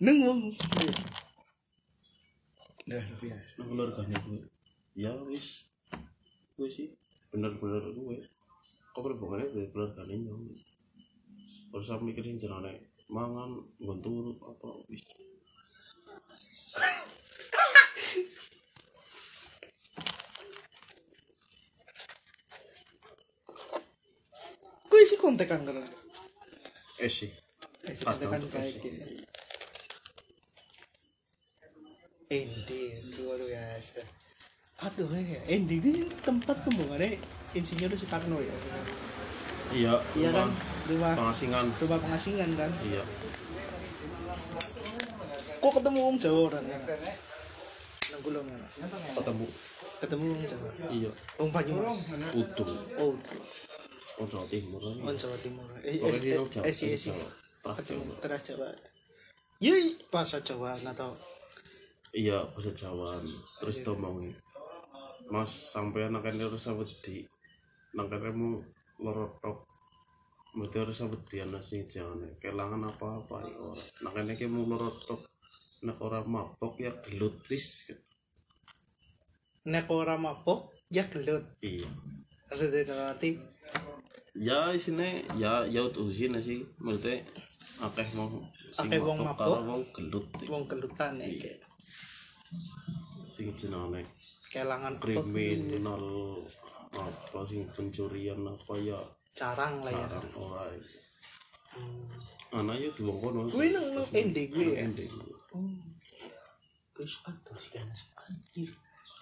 A: Neng wong. Dah Iya. Nah, biasa.
B: nang keluarganya gue ya wis gue sih bener-bener gue kok berhubungannya dari keluarganya nyong terus aku mikirin jenane mangan gontur apa wis
A: Kue sih kontekan kan?
B: eh sih
A: Eh, sih
B: Ada
A: kontekan
B: untuk
A: kayak
B: esok.
A: gini. Endi luar biasa. Aduh ya, Endi ini tempat pembangunannya Insinyur Soekarno ya.
B: iya
A: Iya kan? Rumah
B: pengasingan
A: rumah pengasingan kan.
B: iya
A: Kok ketemu wong Jawa orang kan? Nang gulungan.
B: ketemu
A: Ketemu wong Jawa.
B: iya
A: Wong Banyumas.
B: utuh
A: Oh,
B: oh Jawa Timur kan
A: wong Jawa Timur. Eh, eh,
B: pokoknya
A: eh,
B: ini Jawa
A: eh, si, eh, si.
B: Jawa Terah
A: Ketemu
B: Jawa.
A: teras Jawa. Yui, bahasa Jawa nah atau
B: iya bahasa Jawa terus tuh mau mas sampai anak ini harus sampai di nang kene mu loro tok mesti harus sampai di anak sing jangan kelangan apa apa ya ora nang kene ki mu loro tok nek ora mabok ya gelut wis
A: nek ora mabok ya gelut.
B: iya
A: Maksudnya dalam arti
B: ya isine ya ya utusin sih maksudnya akeh mau sing
A: Akeh wong mabok.
B: karo wong gelut
A: wong gelutan ya kayak
B: sing jenenge
A: kelangan gitu. pek,
B: kriminal apa sing pencurian apa ya
A: carang lah ya.
B: sarang ora iya.
A: Hmm.
B: anak ya di wong kono
A: Kuwi nang nang ende kuwi ya?
B: Ende.
A: Oh. Terus atur ya anjir.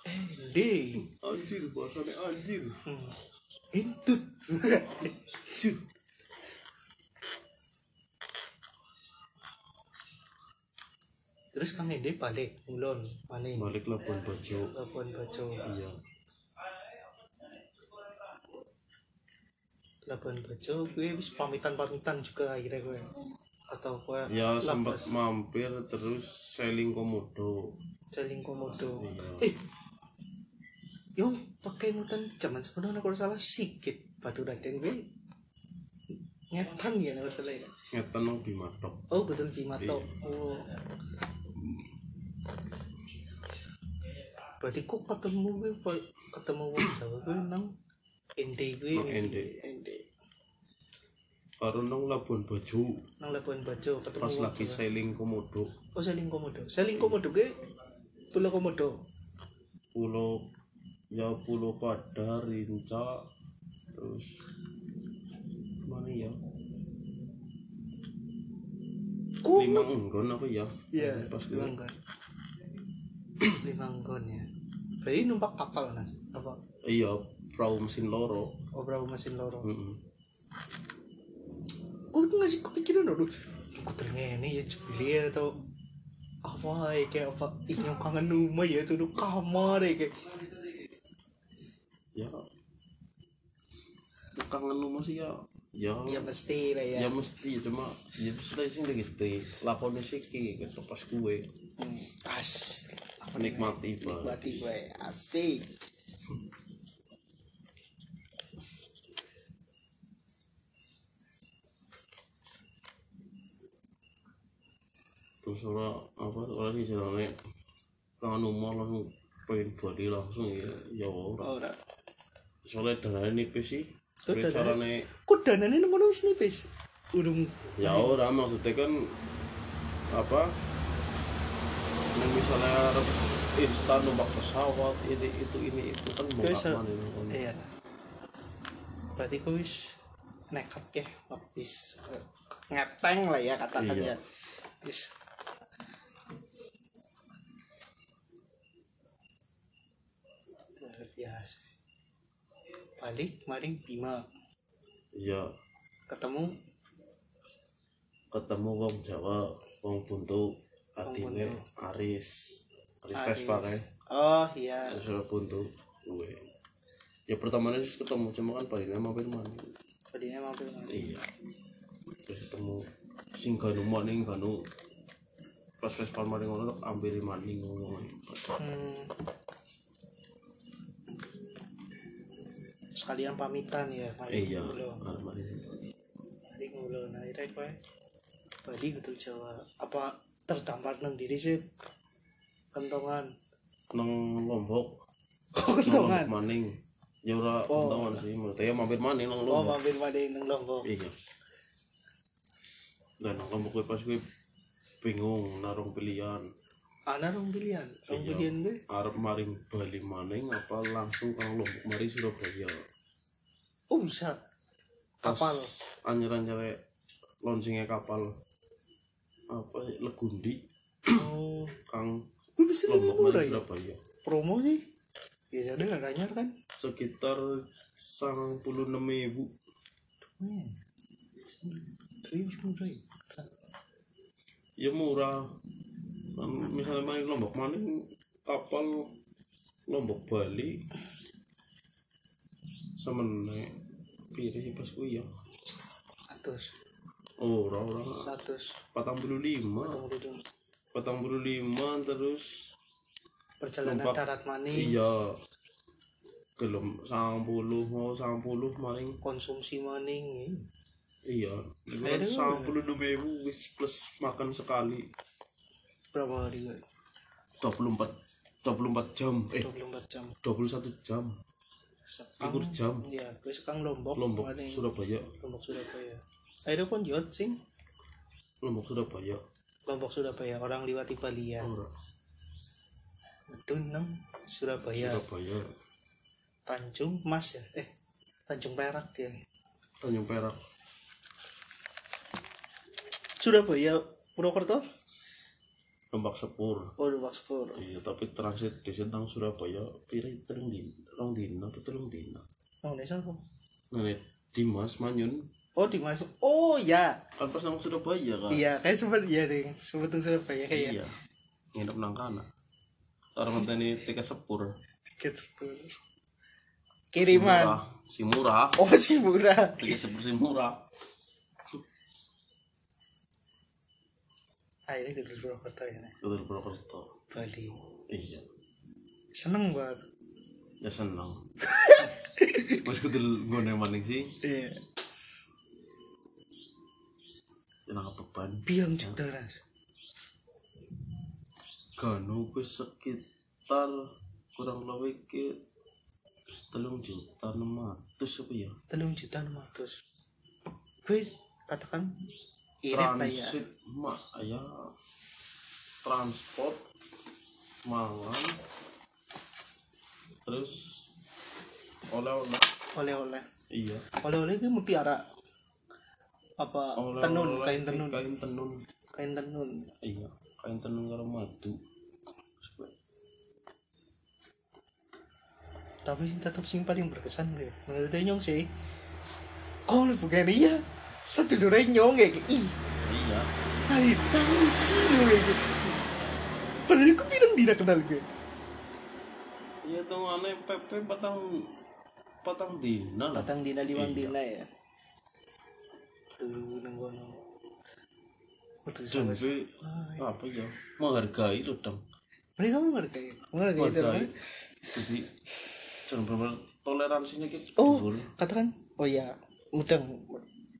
A: Endi.
B: anjir bahasane anjir
A: Hmm. (laughs) Entut. Cut. Terus kang Ende balik ulon maning
B: balik labuan bajo
A: telepon bajo
B: iya
A: telepon bajo gue wis pamitan pamitan juga akhirnya gue atau gue
B: ya
A: lapas.
B: sempat mampir terus selling komodo
A: Jaling komodo
B: iya
A: eh yung pakai mutan zaman sebelum aku salah sikit batu raden gue ngetan ya kalau salah ya
B: ngeten nang bimatok
A: oh betul bimato oh berarti kok ketemu gue pa- ketemu wong Jawa kuwi nang Ende kuwi
B: Nang Ende.
A: Ende.
B: Karo nang Labuan Bajo
A: nang Labuan Bajo ketemu
B: pas
A: wong
B: lagi
A: Jawa.
B: sailing komodo
A: oh saling komodo saling komodo kuwi pulau komodo
B: pulau ya pulau Padar Rinca terus mana ya lima
A: komodo
B: enggon apa ya
A: iya
B: pas
A: lima
B: lima
A: nggon lima nggon ya berarti numpak kapal nah apa
B: iya perahu mesin loro
A: obrol mesin loro
B: Mm-mm.
A: kok itu ngasih kepikiran dulu aku ternyata ini ya Julia atau apa ya kayak apa ini kangen rumah ya tuh kamar ya kayak
B: ya kangen lu masih ya ya
A: ya pasti lah ya
B: ya mesti cuma ya mesti sih udah gitu lakonnya sih ki gitu, pas kue
A: Hmm, as apa nikmat
B: nikmati pak
A: nikmati gue ya, asik
B: terus ora apa ora sih jalannya kangen umur langsung pengen body langsung ya ya ora
A: ora
B: soalnya darahnya nipis sih
A: Tuh, darahnya-
B: Tapi caranya
A: kok danane nemu wis nipis urung
B: ya ora maksudnya kan apa yang misalnya harap instan numpak pesawat ini itu ini itu kan mau
A: Guys,
B: kapan ini kan
A: iya berarti gue wis nekat ya wis eh, ngeteng lah ya katakan
B: Iya.
A: ya wis luar biasa ya, balik maring Bima
B: iya
A: ketemu
B: ketemu wong Jawa wong Buntu atine
A: Buntu.
B: Aris Aris
A: Aris.
B: Vespa kan? kae
A: oh iya
B: Aris ora Buntu gue ya pertamanya terus ketemu cuma kan palingnya mampir mana
A: tadinya mampir mampir.
B: iya terus ketemu sing ganu maning ganu pas Vespa maning ngono ambil maning ngono
A: hmm. sekalian pamitan ya maring
B: iya
A: Beliau.
B: arep maring
A: Jadi ngulon akhirnya kowe Bali kudu Jawa apa terdampar nang diri sih kentongan (laughs)
B: nang Lombok
A: kok
B: nang Lombok
A: kentongan
B: maning ya ora
A: Oh.
B: kentongan sih maksudnya ya mampir maning
A: oh
B: nang Lombok
A: mampir pada nang lombok
B: iya dan kamu gue pas gue bingung narung pilihan
A: ana rong pilihan rong
B: Iya.
A: pilihan gue
B: arep maring Bali maning apa langsung kang lombok mari Surabaya
A: oh bisa kapal
B: anyer anyere launchingnya e kapal apa sih, legundi
A: oh
B: kang
A: gue bisa lebih
B: lombok
A: murah ya
B: mari Surabaya
A: promo sih biasanya ada anyar kan
B: sekitar sangang puluh enam ribu
A: hmm. Terus murah ya
B: ya murah Kan misalnya main lombok maning kapal lombok Bali semenek pilih pas kuya
A: atus
B: ora ora
A: satus
B: 45
A: tunggu dulu
B: patang puluh lima terus
A: perjalanan
B: Numpak.
A: darat maning
B: iya gelem sangang puluh mau sangang puluh maling
A: konsumsi maning ya.
B: iya
A: Aduh.
B: sangang puluh dua ribu wis plus makan sekali
A: berapa hari gue
B: dua puluh empat dua puluh empat jam eh
A: 24 jam
B: dua puluh satu jam
A: sekang
B: Likur jam.
A: ya gue sekang lombok
B: lombok
A: Mane.
B: Surabaya
A: lombok surabaya akhirnya pun jod sing
B: lombok Surabaya
A: lombok surabaya orang liwati Bali ya
B: ora
A: medun nang surabaya
B: Surabaya
A: tanjung mas ya eh tanjung perak ya
B: Tanjung Perak
A: surabaya purwokerto
B: Lombok Sepur
A: oh lombok sepur
B: iya tapi transit di tentang Surabaya piri terung din rong dina atau telung dina
A: oh ini siapa?
B: nah Dimas Manyun
A: oh dimasuk oh ya
B: kan pas nang Surabaya kan
A: iya kayak sempat iya deh sempat nang surabaya kayak ya.
B: iya nginep nang kana orang ngenteni tiket sepur
A: gitu
B: Si
A: kiriman
B: murah. si murah
A: oh (laughs) sih murah
B: tiket sepur si murah
A: akhirnya ke purwokerto ya Nek.
B: ke Purwokerto
A: Bali
B: iya
A: seneng banget
B: ya
A: (laughs)
B: seneng wis kudu nggone maning sih
A: iya
B: jeneng beban
A: biang juta ras
B: ganu ku sekitar kurang lebih ki telung juta enam ratus apa ya
A: telung juta enam ratus gue katakan irit lah ya
B: transit mak ya transport Malang terus oleh-oleh
A: oleh-oleh
B: iya
A: oleh-oleh gue mutiara apa tenun
B: Oleh-oleh
A: kain tenun
B: kain tenun
A: kain tenun
B: iya kain tenun karo madu
A: tapi tetap sing paling berkesan gue menurut dia nyong sih oh lu bukan iya satu dure nyong kayak ih
B: iya
A: ayo tahu sih lu kayak padahal gue bilang tidak kenal gue
B: iya tuh aneh PP patang patang dina lah
A: patang dina limang
B: Iya.
A: dina ya lu nenggono Betul
B: Jen,
A: sama sih.
B: gue-
A: Wah,
B: apa ya menghargai itu dong
A: Mereka mau ngerti, ngerti
B: menghargai
A: Iya, itu.
B: jadi jangan benar toleransinya gitu, kita
A: Oh, katakan, oh ya, mudeng.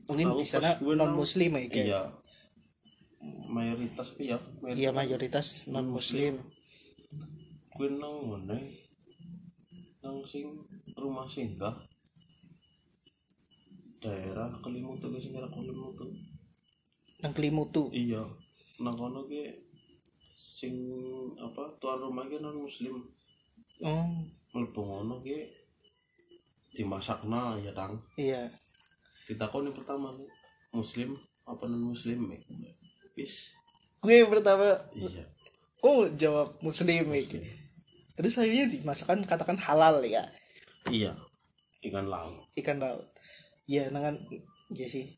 A: Mungkin
B: Aku
A: di sana
B: pas gue
A: non
B: nang-
A: muslim ya, kayak.
B: iya mayoritas tapi ya
A: Iya mayoritas non muslim.
B: gue nang mana nang sing rumah singgah daerah kelimutu ke sing daerah kelimutu
A: Nang Klimutu.
B: iya nang kono ki sing apa tuan rumah ki non muslim
A: Oh,
B: mlebu ngono ki dimasakna ya tang
A: iya.
B: kita kon yang pertama nih muslim apa non muslim ya bis
A: Gue pertama,
B: iya
A: oh jawab muslim ya. kayak. Terus akhirnya dimasakkan katakan halal ya,
B: iya ikan laut
A: ikan laut. Iya, nangan iya sih.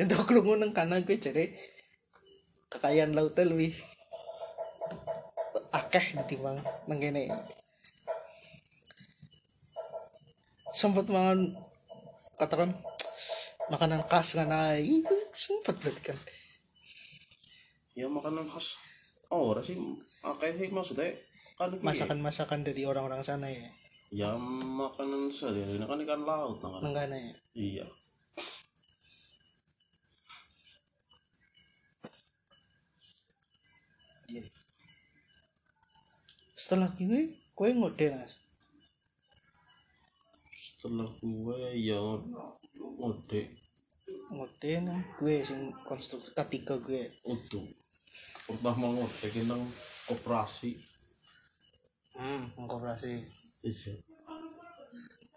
A: Itu kerungu nang kanan gue cari kekayaan lautnya lebih akeh ditimbang nang kene. Sempat mangan katakan makanan khas kan ai sempat berarti kan
B: ya makanan khas oh ora sih akeh sih maksudnya kan ki-
A: masakan-masakan dari orang-orang sana ya
B: ya makanan sehari-hari kan ikan laut nah, kan
A: nang kana ya
B: iya
A: setelah gini kue ngode Nas.
B: setelah gue ya ngode
A: ngode nang gue sing konstruksi ketiga gue
B: utuh pertama ngode ki nang koperasi
A: hmm koperasi
B: iya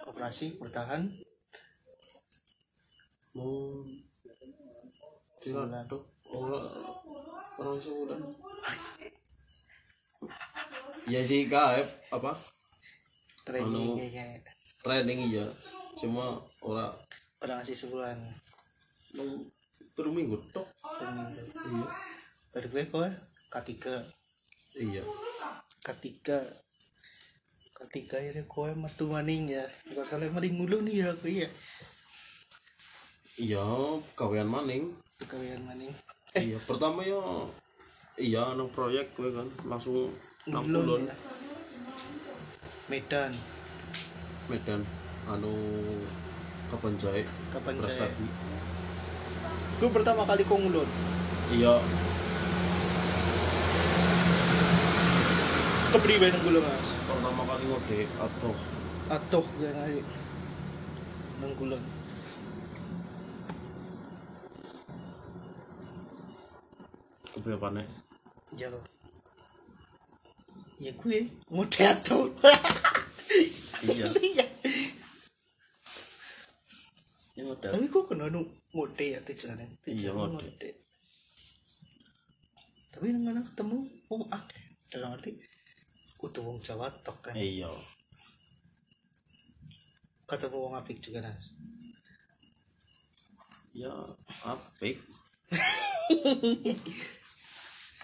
A: koperasi bertahan
B: mau
A: Sebulan.
B: tuh orang orang sebulan ya sih kak apa
A: training
B: Anu.
A: kayak
B: training iya cuma orang
A: pernah ngasih sebulan
B: mau terus minggu tok
A: per minggu.
B: iya
A: dari gue kue ketiga
B: iya
A: ketiga ketiga ini kue ya, metu maning ya gak kalian mending ngulu nih ya gue ya
B: iya kawian maning
A: kalian maning
B: iya pertama ya iya nang proyek gue kan langsung nang
A: ngulun
B: ulun
A: ya Medan
B: Medan anu kapan jai
A: kapan
B: beras
A: saya
B: tadi
A: gue pertama kali kok ngulun
B: iya
A: kepribadian gue mas ya,
B: pertama kali ngode atau
A: atuh gue ngasih nang ngulun
B: keberapaan
A: jauh ya gue ngode (laughs) atuh
B: iya
A: iya
B: ini ngode
A: tapi gue kena nu ngode ya tujuannya
B: Iya,
A: Tujuannya
B: ngode.
A: tapi dengan ketemu wong akeh dalam arti kutu wong jawa tok kan
B: iya
A: ketemu wong apik juga nas
B: ya (laughs) apik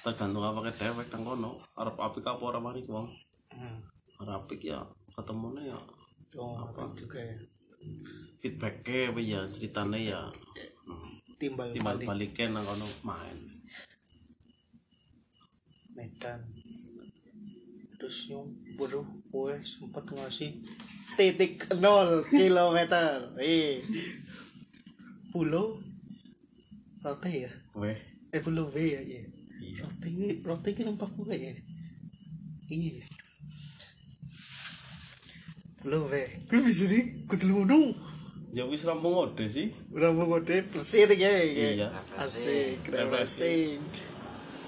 B: tergantung apa ke dewek nang kono arep apik apa ora mari wong
A: hmm.
B: arep apik ya ketemune ya
A: wong
B: Apa?
A: apik juga ya
B: feedbacknya apa ya ceritanya ya hmm.
A: timbal,
B: timbal
A: balik
B: baliknya nang kono main
A: Medan terus yang baru gue sempat ngasih titik nol
B: (laughs)
A: kilometer eh pulau rote ya
B: weh
A: eh pulau B ya iya
B: iya
A: rote ini rote ini nampak gue ya iya Lu weh, lu bisa di kudu ngono.
B: Ya wis rampung ode sih.
A: Ora mau ngode bersih iki.
B: Iya.
A: Asik, keren asik.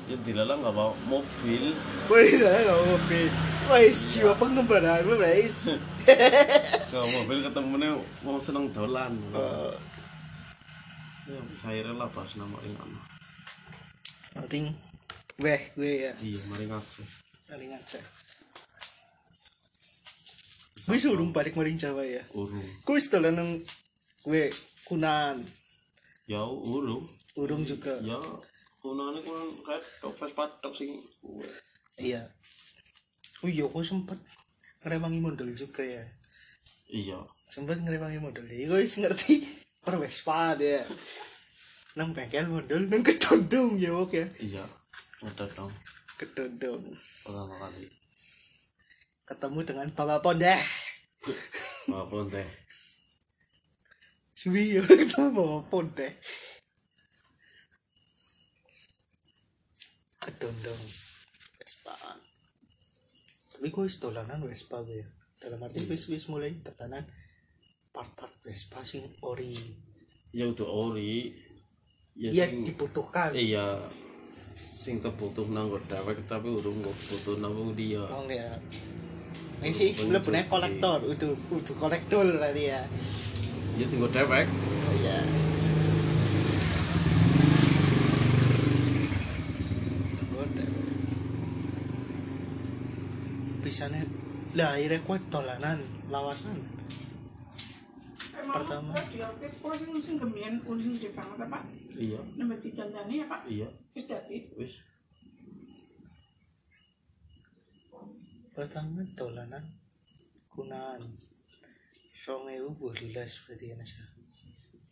B: Ya dilalang nggak mau mobil.
A: Woi, dah enggak ngopi. Wais, jiwa pengembaraan lu, guys.
B: Kalau mobil ketemunya mau seneng dolan.
A: Eh,
B: Ya saya lah pas nama ring anak.
A: Ring weh gue ya,
B: Iya, mari ngaku.
A: ring aja. Gue suruh balik maring Jawa ya.
B: Urung.
A: Gue setelah nang gue kunan,
B: Ya urung.
A: urung juga.
B: Ya kunane kunan kayak tok Vespa tok sing kuwe.
A: Iya. Oh iya, gue sempet ngerewangi modal juga ya.
B: Iya.
A: Sempet ngerewangi modal. Ya, gue wis ngerti per Vespa dia. Nang bengkel modal nang (laughs) ketondong ya, wok ya.
B: Iya. Ada dong
A: Ketondong.
B: pertama kali.
A: Ketemu dengan Bapak Pondeh.
B: Maupun teh.
A: Suwi ya ketemu Bapak Pondeh. Ketondong. Vespaan. Tapi gue wis dolanan Vespa gue ya. Dalam arti wis wis mulai tatanan part-part Vespa sing ori
B: Ya udah ori. Ya
A: Iya
B: sing-
A: dibutuhkan.
B: iya sing kebutuh nang nggo dewek tapi urung kebutuh nang wong dia
A: Wong ya. Ini sih
B: Untuk-
A: lebih kolektor, udah udah kolektor tadi ya.
B: ya tinggal dewek
A: Iya. Pisane lah akhirnya kuat tolanan lawasan. Pertama.
D: Dia oke, kok sing sing gemian ulin di banget Pak.
B: iya
D: Nambah didandani ya Pak.
B: iya
D: Wis dadi.
B: wis
A: Pertama tolanan kunaan. Song ewu bolilas berarti ya Nasa.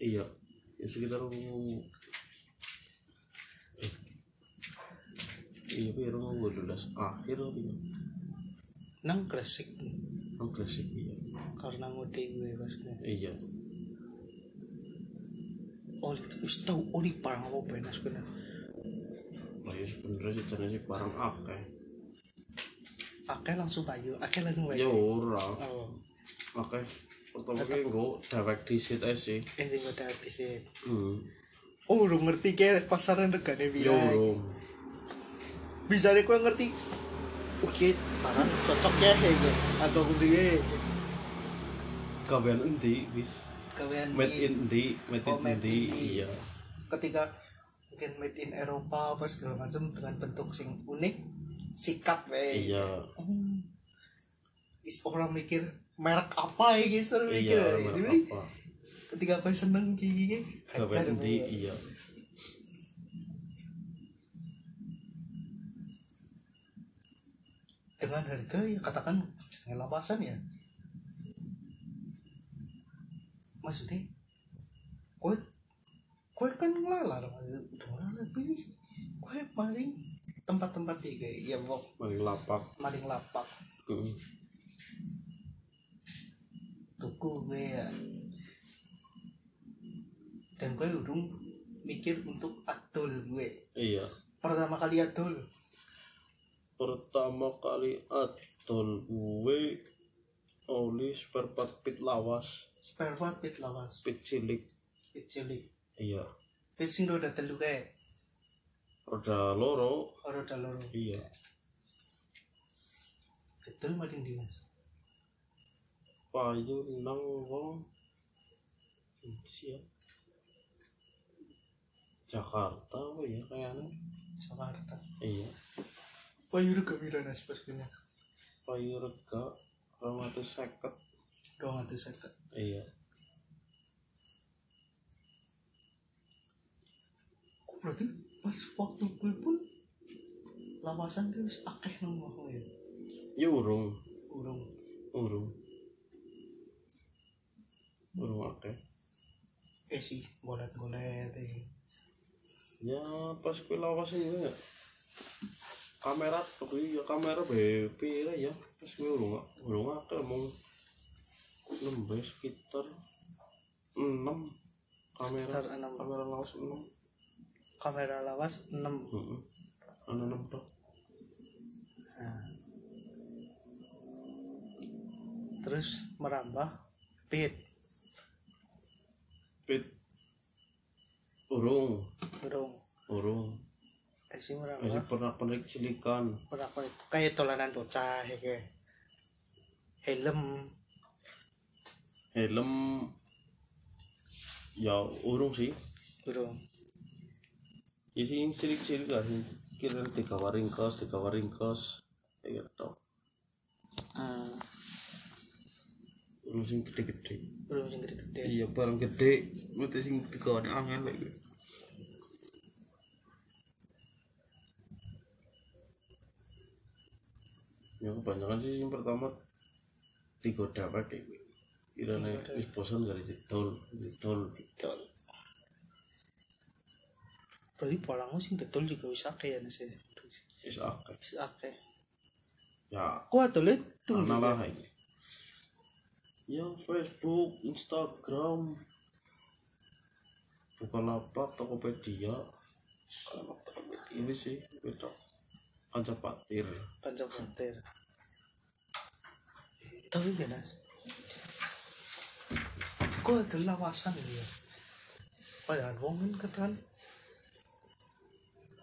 B: iya ya sekitar rong- eh. iya piro mau belas akhir apa ya
A: Nang kresik
B: oh gresik iya
A: karena ngode gue pas gue.
B: iya
A: oli Oh, wis tau oli parang apa benas kena
B: lah ya sebenernya sih jane sih barang akeh
A: akeh langsung kayu akeh langsung
B: ya
A: kayu
B: ora
A: oh
B: akeh pertama ki nggo dewek disit ae sih
A: eh sing kota pisit
B: hmm
A: oh urung ngerti ke pasaran regane
B: ya
A: bilang
B: urung
A: bisa deh kue ngerti oke parang cocok ya gitu atau kudu
B: kabehan endi wis
A: kawean
B: made in di made
A: Oh,
B: in
A: made in
B: di
A: di.
B: iya
A: ketika mungkin made in Eropa apa segala macam dengan bentuk sing unik sikap eh
B: iya
A: Hmm. is orang mikir merek apa ya guys orang
B: iya
A: mikir ya.
B: orang
A: Jadi,
B: apa
A: ketika kau seneng kayak gini
B: gawe
A: kacar
B: endi
A: banget.
B: iya
A: dengan harga ya katakan ngelapasan ya maksudnya kue kue kan ngelalar udah ngelalar pilih kue paling tempat-tempat tiga ya mau
B: paling lapak
A: paling lapak
B: Hmm.
A: tuku gue ya dan gue udah mikir untuk adul gue
B: iya
A: pertama kali adul
B: pertama kali adol gue oli spare part pit lawas
A: perwat pit lawas
B: pit cilik
A: pit cilik
B: iya
A: pit sing roda telu kayak
B: roda loro
A: roda loro
B: iya
A: betul maling dinas
B: payu nang wong siap Jakarta apa ya kayaknya
A: Jakarta
B: iya
A: Wahyu gak bilang pas kena
B: payu rega 250
A: dong atau seket
B: iya
A: berarti pas waktu gue pun lawasan gue wis akeh nang omahku ya
B: ya urung
A: urung
B: urung urung akeh
A: eh sih bolet bolet eh.
B: ya pas kuwi lawas ya kamera tuh ya kamera BP lah ya pas kuwi urung urung akeh mung nembe sekitar 6 kamera
A: Sekitar enam.
B: kamera lawas 6
A: kamera lawas 6
B: heeh ana 6 tok
A: nah. terus terus merambah pit
B: pit urung
A: burung
B: urung
A: esi
B: masih
A: merambah
B: pernah perik silikan
A: pernah kayak- kayak tolanan bocah ya kayak helm
B: helm ya urung sih
A: burung
B: ya sih silik silik lah sih kira tiga waring kos tiga waring kos ya gitu
A: hmm,
B: urung sing gede gede
A: burung yang gede-gede
B: iya barang gede mesti sing tiga waring angin lagi ya kebanyakan sih yang pertama tiga dapat deh kira nih
A: Tiga dapet.
B: wis bosan kali jedol jedol
A: betul berarti polangmu sing betul juga wis akeh ya nasi
B: wis akeh
A: wis akeh
B: ya
A: aku adole tunggu
B: Mana lah
A: ya.
B: ini? Yang Facebook, Instagram, Bukalapak, Tokopedia, ini sih betok kanca patir.
A: panjang khawatir tapi ya nas aku adole lawasan ini ya padahal wong kan katakan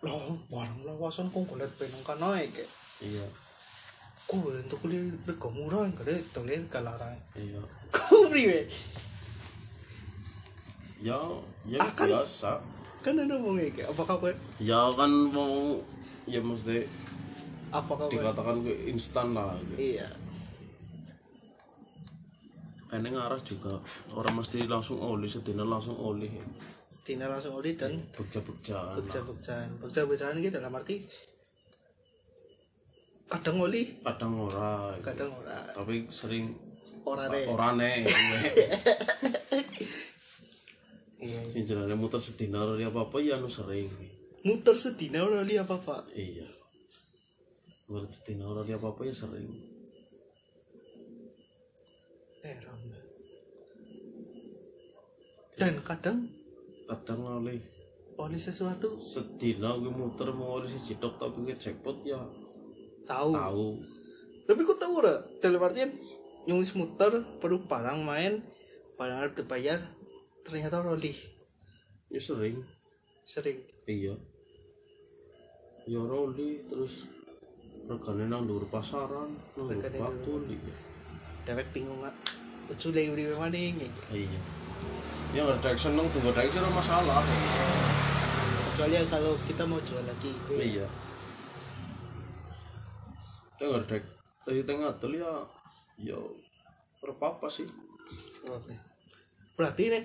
A: loh barang lawasan kok golek penang kanae kek
B: Iya,
A: ku untuk kuliah rego murah kare tole (laughs) kalarang
B: iya.
A: ku priwe
B: Ya, ya
A: Akan-
B: biasa.
A: kan ana wong iki apakah kowe
B: Ya kan mau ya mesti
A: apakah kowe
B: dikatakan ke instan lah. Gitu.
A: iya
B: Ini ngarah juga orang mesti langsung oleh sedina langsung oleh
A: Tina langsung oli dan
B: bekerja-bekerjaan. lah.
A: pecah-pecahan pecah-pecahan gitu dalam arti kadang oli
B: Kadang ora. gitu.
A: kadang ora
B: Tapi sering
A: ora re
B: orane
A: iya iya.
B: sing jenenge muter sedina ya apa apa ya anu sering
A: muter sedina ora oli apa pak
B: iya muter sedina ora ya apa apa ya sering
A: heran dan kadang
B: kadang oleh
A: oli sesuatu
B: sedina gue muter mau oleh si cidok tapi gue jackpot ya
A: tahu
B: tahu
A: tapi kok tahu ora dalam artian nyulis muter perlu parang main parang harus dibayar ternyata oli
B: ya sering
A: sering
B: iya ya roli terus regane nang dhuwur pasaran nang dhuwur
A: Regane
B: bakul iya
A: dewek bingung mak lucu lagi uri maning gitu.
B: iya ya ada action nang dhuwur action ora masalah
A: kecuali kalau kita mau jual lagi itu
B: iya dengar dek dari tengah tuh ya yo berapa apa sih
A: oh, Oke. berarti nek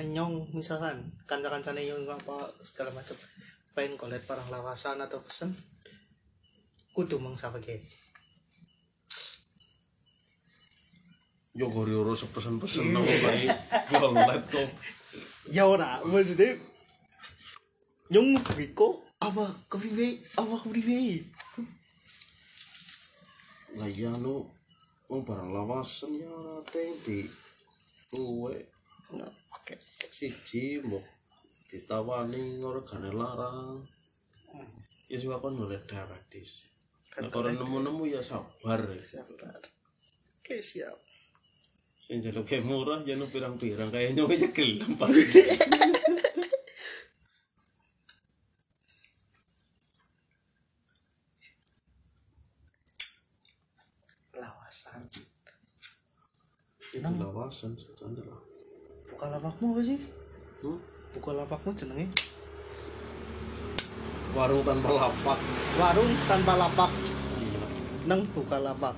A: enyong misalkan kanca-kancane yang apa segala macam pengen kolet parang lawasan atau pesen kudu mangsa pakai
B: yo gori oro sepesen pesen nopo baik jual laptop
A: ya ora maksudnya nyong kok apa kepriwe apa kepriwe
B: lah iya nu mau barang lawasan ya nanti di kue
A: Nah, oke
B: siji mau ditawani ngoro gane larang ya suka kan mulai darah dis nah, kalau nemu-nemu ya sabar
A: sabar oke siap
B: sing jaluk kayak murah ya nu pirang-pirang kayak nyoba aja gelem Pak.
A: lawasan
B: itu
A: Nang-
B: lawasan sebenarnya lah
A: buka lapakmu apa sih
B: Hmm?
A: buka lapakmu jenenge
B: warung tanpa lapak
A: warung tanpa lapak
B: iya
A: nang buka lapak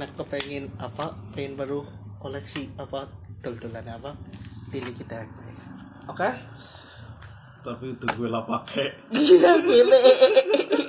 A: nek kepengen apa pengen baru koleksi apa dol-dolan apa pilih kita oke
B: tapi itu gue lah pakai
A: gila gue